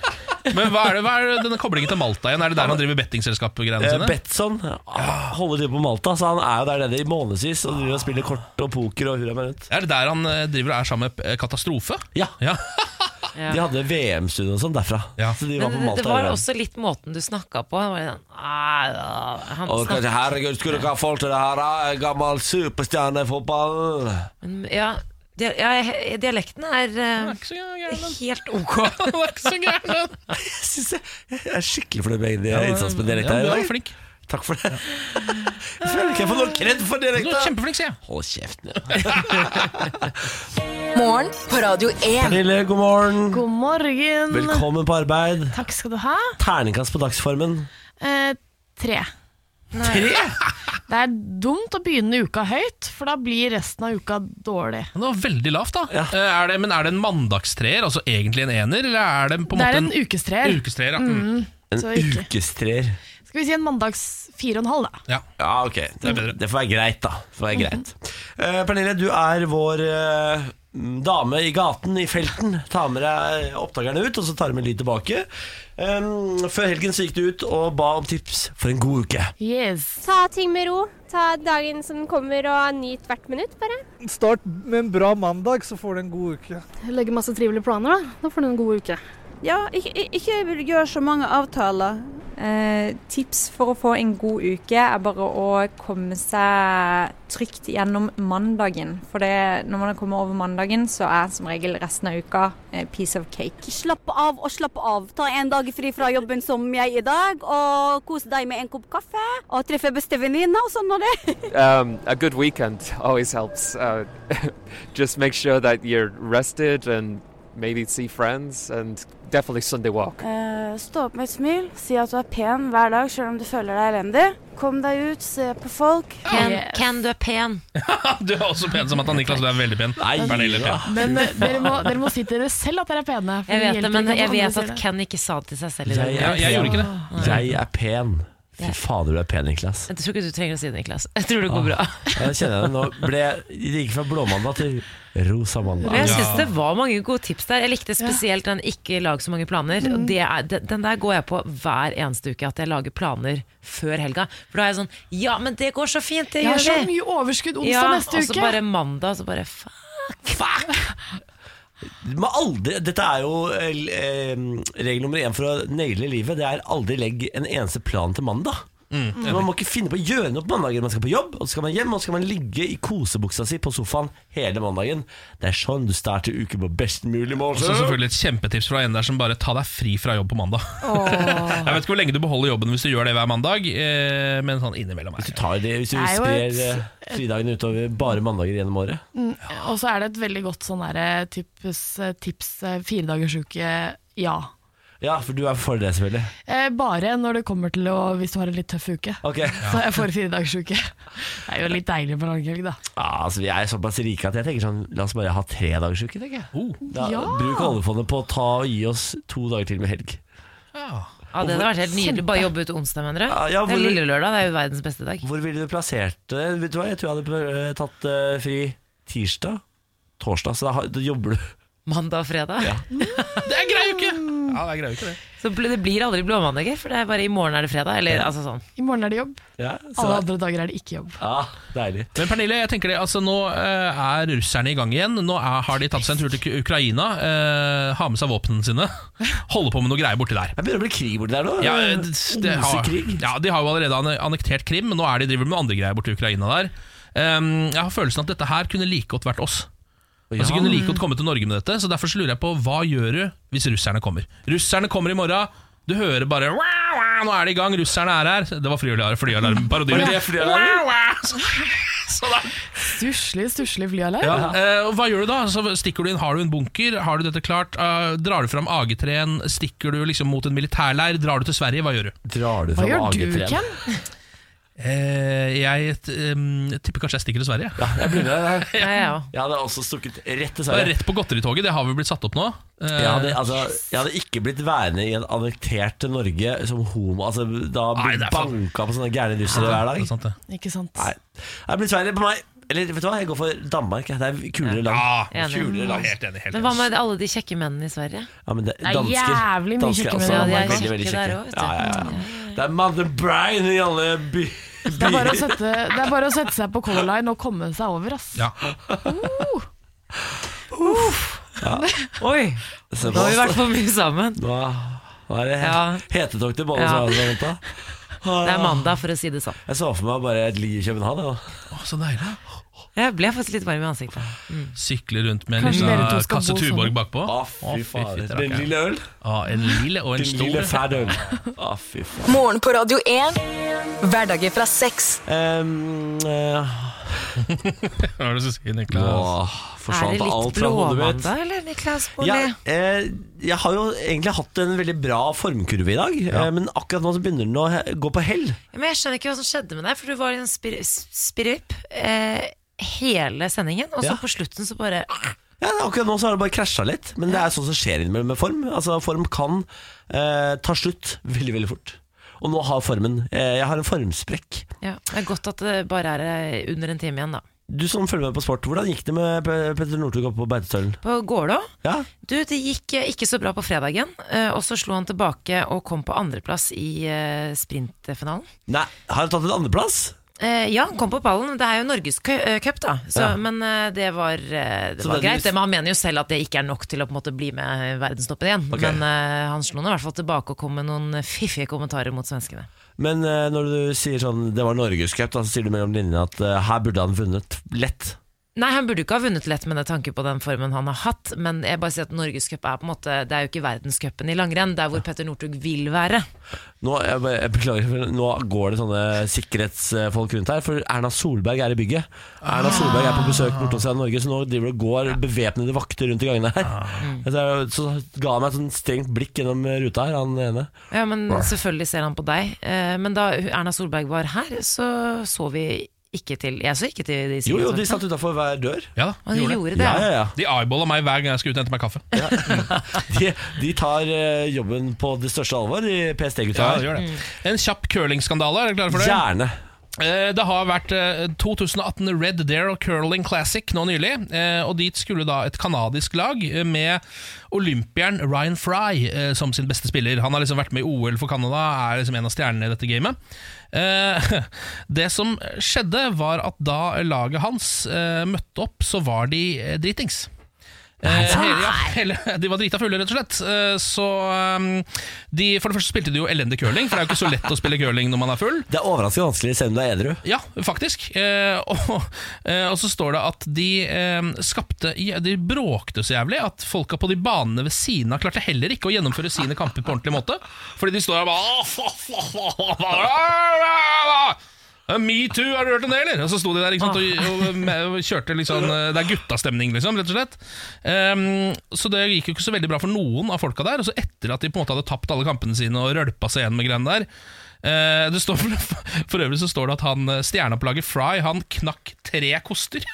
S2: Men hva er, det, hva er det- denne koblingen til Malta igjen? Er det der han driver bettingselskap-greiene
S1: Eh,
S2: sine?
S1: Betson ah, holder til på Malta, så han er jo der nede i månedsvis og driver og spiller kort og poker og hurra meg rundt.
S2: Er det der han eh, driver og er sammen med eh, Katastrofe?
S1: Ja.
S2: <laughs>
S3: ja.
S1: De hadde VM-studio og sånn derfra. Så de var på
S3: Men det,
S1: Malta.
S3: det var
S1: hele veien.
S3: også litt måten du snakka på. Han var litt sånn, «Ah, ja». han
S1: Og kanskje,
S3: snakket,
S1: herregud, skulle dere ha folk til det her? da? En Gammel superstjerne i fotball.
S3: men, ja, dia- ja, he- dialekten er eh, helt ok.
S2: Den er ikke så gæren,
S1: Jeg er skikkelig fornøyd med egen
S2: Ja,
S1: innsats på dialekt
S2: ja,
S1: her i
S2: du er
S1: dag.
S2: flink.
S1: Takk for det. Jeg føler ikke jeg får noe kred for det.
S2: Du er kjempeflink, sier jeg.
S1: Hold kjeften din.
S7: Morgen på Radio 1.
S1: Pernille, god morgen.
S14: God morgen.
S1: Velkommen på arbeid.
S14: Takk skal du ha.
S1: Terningkast på dagsformen.
S14: Eh, tre.
S1: Tre?
S14: Det er dumt å begynne uka høyt, for da blir resten av uka dårlig.
S2: Det var veldig lavt, da. Eh, Er det, men er det en mandagstreer, altså egentlig en ener, eller er det på en
S14: Det er
S2: måte
S14: en ukestreer.
S2: ukestreer ja.
S14: Mm.
S1: En
S14: Så ikke-
S1: ukestrer.
S14: Skal vi si en mandags fire og en halv, da.
S2: Ja. <laughs>
S1: ok. Det, det får være greit, da. Det får være greit. Eh, Pernille, du er vår eh, dame i gaten, i felten. Ta med deg oppdagerne ut, og så tar du med lyd tilbake. Eh, før helgen så gikk du ut og ba om tips for en god uke.
S17: Ta ting med ro. Ta dagen som kommer og nyt hvert minutt, bare.
S18: Start med en bra mandag, så får du en god uke.
S17: Legge masse trivelige planer, da. Da får du en god uke.
S19: Ja, ikke, ikke gjør så mange avtaler.
S6: Eh, tips for å få en god uke er bare å komme seg trygt gjennom mandagen. For det, når man kommer over mandagen, så er som regel resten av uka eh, piece of cake.
S20: Slapp av og slapp av. Ta en dag fri fra jobben som jeg i dag, og kos deg med en kopp kaffe. Og treffe bestevenninna og sånn og det. <laughs>
S21: Um, a good weekend always helps. Uh, <laughs> just make sure that you're rested and maybe see friends and definitely Sunday walk.
S22: Eh, stå opp med et smil, si at du er pen hver dag selv om du føler deg elendig. Kom deg ut, se på folk.
S3: Ken, Ken, du er pen.
S2: Du er også pen som at han Niklas, du er veldig pen. Nei, Pernille er pen.
S14: Men eh, dere må, dere må si til dere selv at dere er pene. for
S3: Jeg
S14: hjelper
S3: vet det, men
S14: ikke
S3: jeg
S14: andre
S3: vet
S14: sier
S3: at
S14: det.
S3: Ken ikke sa det til seg selv. i dag.
S1: Jeg, er pen. Jeg er pen. Fy
S3: Ja.
S1: fader, du er pen, Niklas.
S3: Jeg tror ikke du trenger å si det, Niklas. Jeg tror det går bra.
S1: Jeg kjenner det nå. Ble, det gikk fra blåmandag til rosa mandag.
S3: Men jeg synes det var mange gode tips der. Jeg likte spesielt den 'ikke lag så mange planer'.
S14: Mm.
S3: Og det er, den- den der går jeg på hver eneste uke, at jeg lager planer før helga. For da er jeg sånn 'ja, men det går så fint', det
S14: Jeg har
S3: gjør
S14: så
S3: vi'.
S14: mye overskudd onsdag
S3: ja,
S14: neste
S3: Og
S14: uke.
S3: så bare mandag, så bare faen.
S1: Du må aldri, dette er jo eh, regel nummer én for å naile livet. Det er aldri legg en eneste plan til mandag. Så man må ikke finne på å gjøre noe på mandagen. Man skal på jobb, og så skal man hjem, og så skal man ligge i kosebuksa si på sofaen hele mandagen. Det er sånn du starter uken på best mulig
S2: Og
S1: måte.
S2: så Altså, selvfølgelig et kjempetips fra en der som bare ta deg fri fra jobb på mandag. <laughs> Jeg vet ikke hvor lenge du beholder jobben hvis du gjør det hver mandag, eh, men sånn innimellom. Hvis
S1: du tar det, hvis du
S14: Det er jo
S1: sprer
S14: et-
S1: eh, fridagene utover bare mandager gjennom året.
S14: Mm, Og så er det et veldig godt sånn derre types- tips eh, fire dagers uke ja.
S1: Ja, for du er for det, selvfølgelig.
S14: Eh, bare når det kommer til å, hvis du har en litt tøff uke. <laughs>
S1: Ok.
S14: Så jeg får fire dagers uke. Det er jo litt deilig på langhelg, da.
S1: Ja, altså Vi er såpass rike at jeg tenker sånn La oss bare ha tre dagers uke, tenker jeg. Da,
S14: Ja.
S1: Bruk oljefondet på å ta og gi oss to dager til med helg.
S3: Ja, Det hadde vært helt nydelig. Bare jobbe ut onsdag, mener du?
S1: Ja, ja,
S3: det er
S1: hvor-
S3: lille lørdag, det er jo verdens beste dag.
S1: Hvor ville du plassert det? Vet du hva, Jeg tror jeg hadde eh, tatt eh, fri tirsdag, torsdag, så da, har- da jobber du.
S3: Mandag og fredag.
S2: Det er grei uke! Ja, det er grei uke, det.
S3: Så ble- det blir aldri blåmandager, for det er bare i morgen er det fredag. Eller altså sånn.
S14: I morgen er det jobb.
S1: Ja,
S14: Alle andre dager er det ikke jobb.
S1: Ja, deilig.
S2: Men Pernille, jeg tenker det, altså nå eh, er russerne i gang igjen. Nå er, har de tatt seg en tur til Uk- Ukraina. eh, har med seg våpnene sine. <laughs> Holder på med noe greier borti der.
S1: Det begynner å bli krig borti der nå.
S2: Ja, eh, det, det har, ja, De har jo allerede anne- annektert Krim, men nå er de driver med andre greier borti Ukraina der. Ehm, jeg har følelsen at dette her kunne like godt vært oss.
S1: Ja.
S2: Altså kunne like godt komme til Norge med dette Så Derfor så lurer jeg på hva gjør du hvis russerne kommer. Russerne kommer i morgen. Du hører bare wow, wow, Nå er de i gang, russerne er her. Det var flyalarm. flyalarm parodien.
S14: Å, det er
S2: Wow, wow.
S14: Stusslig, stusslig flyalarm.
S2: Ja. Eh, og hva gjør du da? Så stikker du inn, Har du en bunker? Har du dette klart? Eh, drar du fram AG3-en? Stikker du liksom mot en militærleir? Drar du til Sverige? Hva gjør du?
S1: Drar du
S14: Hva gjør du, Ken?
S2: Eh, jeg t- em, tipper kanskje jeg stikker til Sverige.
S1: Ja, jeg blir med
S3: Ja, jeg òg.
S1: Jeg hadde også stukket rett til
S2: Bare
S1: Sverige.
S2: Rett på godteritoget, det har vel blitt satt opp nå. Eh,
S1: Jeg hadde, altså, jeg hadde ikke blitt værende i en annektert Norge som homo. Altså, da
S2: Nei,
S1: blir
S2: det er sant.
S1: banka på sånne gærne russere
S2: Ja, sånn.
S1: hver dag.
S2: det er sant, det.
S14: Ikke sant?
S1: Nei. Det blir Sverige på meg. Eller vet du hva, jeg går for Danmark. jeg. Det er kulere land.
S2: Ah,
S3: Enig.
S1: kulere land.
S3: Men hva med alle de kjekke mennene i Sverige?
S1: Ja, men det,
S3: Det er
S1: dansker,
S3: jævlig mye
S1: dansker
S3: kjekke menn.
S1: også.
S3: Ja, de er
S1: veldig, veldig
S3: kjekke der også,
S1: kjekke.
S3: vet du.
S1: Ja, ja, ja. Det er Mother Brian i alle by,
S14: Det er, bare å
S1: byer.
S14: sette, det er bare å sette seg på Color Line og komme seg over, ass.
S2: Ja.
S1: Ja.
S3: Oi!
S1: Se på
S3: Nå har vi
S1: oss.
S3: vært for mye sammen.
S1: Nå, nå er det
S3: Ja.
S1: hetetokt i bollen.
S3: Ja.
S1: som er på vent da.
S3: Det er mandag, for å si det sånn.
S1: Jeg så for meg bare et liv i København. Ja.
S2: så deilig.
S3: Jeg ble faktisk litt varm i ansiktet. Mm.
S2: Sykle rundt med en
S3: Kanskje dere to
S2: liten eh,
S3: skal
S2: kasse
S3: bo
S2: Tuborg
S3: sammen?
S2: bakpå.
S1: Å, fy faen.
S2: fitte
S1: Med en
S2: rakker.
S1: lille øl?
S2: Ja, en lille og en
S1: Din
S2: stor.
S1: lille fæl øl. Å, fy faen.
S7: Morgen på Radio 1. Hverdager fra seks.
S1: Um,
S2: Hva er det som sier, Niklas?
S1: Åh, forsvant sånn alt fra hodet mitt.
S3: blåmandag, eller, Niklas
S1: Ja,
S3: Baarli?
S1: eh, jeg har jo egentlig hatt en veldig bra formkurve i dag, eh, men akkurat nå så begynner den å he- gå på hell.
S3: Ja, Men jeg skjønner ikke hva som skjedde med deg, for du var i en spir spirip eh, hele sendingen, og så
S1: Ja.
S3: på slutten så bare
S1: Ja, det er akkurat nå så har det bare krasja litt, men det er sånn som skjer innimellom med form. Altså, Form kan eh, ta slutt veldig, veldig fort. Og nå har formen eh, Jeg har en formsprekk.
S3: ja, Det er godt at det bare er eh, under en time igjen, da.
S1: Du som følger med på sport, hvordan gikk det med Pe- Petter Northug oppe på Beitostølen?
S3: På Gålå?
S1: Ja?
S3: Du, det gikk eh, ikke så bra på fredagen, eh, og så slo han tilbake og kom på andreplass i eh, sprintfinalen.
S1: Nei, har han tatt en andreplass?
S3: Eh, ja, han kom på pallen. Det er jo Norgescup, da. Så,
S1: Ja.
S3: Men eh, det var, eh, det
S1: Så
S3: var
S1: den-
S3: greit. Det, men han mener jo selv at det ikke er nok til å på en måte bli med i verdenstoppen igjen.
S1: Ok.
S3: Men eh, han slo nå i hvert fall tilbake og kom med noen fiffige kommentarer mot svenskene.
S1: Men eh, når du sier sånn det var norgescup, da, så sier du mellom linjene at eh, her burde han vunnet lett.
S3: Nei, han burde jo ikke ha vunnet lett med den tanke på den formen han har hatt, men jeg bare sier at Norgescup er på en måte Det er jo ikke verdenscupen i langrenn, det er hvor Petter Northug vil være.
S1: Nå, jeg, bare- jeg beklager, for nå går det sånne sikkerhetsfolk rundt her, for Erna Solberg er i bygget. Erna Solberg er på besøk borte hos Norge, så nå driver det og går bevæpnede vakter rundt i gangene her. Så, jeg, så ga han meg et sånn strengt blikk gjennom ruta her, han ene.
S3: Ja, men
S1: Nei.
S3: selvfølgelig ser han på deg. Eh, Men da Erna Solberg var her, så så vi ikke til Jeg så ikke til de
S1: Jo, jo, de
S3: sikkerhetsvaktene.
S1: satt utafor hver dør.
S2: Ja,
S3: Og de gjorde det,
S1: Ja, ja, ja.
S2: De eyeballa meg hver gang jeg skulle ut og hente meg kaffe.
S1: <laughs> De, de tar eh, jobben på det største alvor, de PST-gutta.
S2: Ja, det gjør det. En kjapp curlingskandale, er dere klare for det?
S1: Gjerne.
S2: Eh, Det har vært eh, 2018 Red Dare og Curling Classic nå nylig. eh, Og dit skulle da et kanadisk lag eh, med olympieren Ryan Fry eh, som sin beste spiller. Han har liksom vært med i OL for Canada, er liksom en av stjernene i dette gamet. Eh, <laughs> Det som skjedde, var at da laget hans eh, møtte opp, så var de eh, dritings. Eh, hele, ja, hele, <laughs> de var drita fulle, rett og slett. Eh, Så eh, de, For det første spilte de jo elendig curling, for det er jo ikke så lett å spille curling når man er full.
S1: Det er overraskende vanskelig selv om du er edru.
S2: Ja, faktisk. Eh, og, eh, og så står det at de eh, skapte ja, De bråkte så jævlig at folka på de banene ved siden av klarte heller ikke å gjennomføre sine kamper på ordentlig måte. Fordi de står der og bare Eh, Me too, har du hørt om det, eller? Og så sto de der ikke sant, og, og, og kjørte litt sånn eh, Det er guttastemning, liksom, rett og slett. Ehm, så det gikk jo ikke så veldig bra for noen av folka der. Og så etter at de på en måte hadde tapt alle kampene sine og rølpa seg igjen med greiene der eh, det står, For øvrig så står det at han eh, stjerna på laget Fry, han knakk tre koster.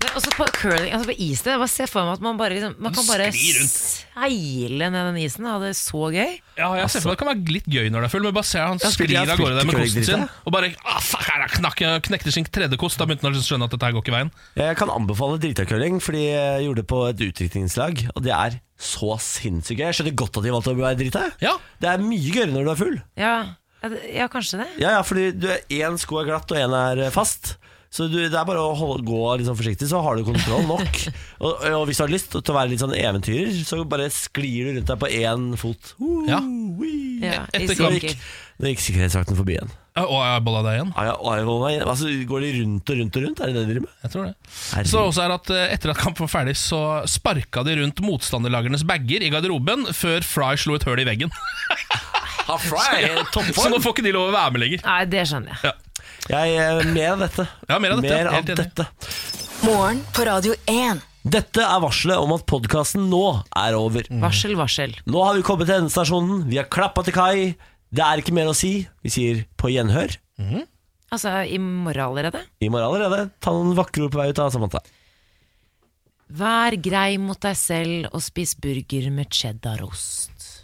S3: Det- Også på curling, altså på is, det, jeg bare ser for meg at man bare liksom, Man kan bare
S2: sklir rundt.
S3: seile ned den isen og ha det så gøy.
S2: Ja, jeg ser for meg Det kan være litt gøy når det er full, men bare ser han
S3: Ja, skulle
S2: sklir
S3: jeg
S2: av gårde der med
S1: spilt
S2: kosten sin.
S1: curlingdritt,
S2: Og bare ah, fuck, her er knakk, knekte sin tredje kost. Da begynte han å skjønne at dette her går ikke veien.
S1: Jeg kan anbefale dritakkøling, fordi jeg gjorde det på et utdrikningslag, og det er så sinnssykt gøy. Jeg skjønner godt at de valgte å være drita. Det er mye gøyere når du er full.
S3: Ja, ja, det- ja kanskje det.
S1: Ja, ja, fordi du er- én sko er glatt, og én er eh, fast. Så du, det er bare å holde, gå litt sånn forsiktig, så har du kontroll nok. og, og hvis du har lyst til å være litt sånn eventyrer, så bare sklir du rundt deg på én fot.
S2: Ja.
S3: Ja, i
S1: Etter
S3: sirkel.
S1: gikk, da gikk sikkerhetsvakten forbi igjen.
S2: Og jeg bolla deg igjen?
S1: Ja, og jeg bolla deg igjen. Altså, går de rundt og rundt og rundt? Er det det de driver med?
S2: Jeg tror det. Så også er at eh, Etter at kampen var ferdig, så sparka de rundt motstanderlagernes bager i garderoben før Fry slo et høl i veggen.
S1: Fry er i
S2: <laughs>
S1: toppform.
S2: så nå får ikke de lov å være med lenger.
S3: Nei, det skjønner jeg.
S1: Jeg er mer av dette.
S2: Ja, mer av dette, ja.
S1: Mer
S2: Helt
S1: av
S2: enig.
S1: dette.
S7: Morgen på Radio 1.
S1: Dette er varselet om at podkasten nå er over.
S3: Varsel, varsel.
S1: Nå har vi kommet til endestasjonen. Vi har klappa til kai. Det er ikke mer å si. Vi sier på gjenhør.
S3: Altså i morgen allerede.
S1: I morgen allerede. Ta noen vakre ord på vei ut av Samantha.
S3: Vær grei mot deg selv og spis burger med cheddarost.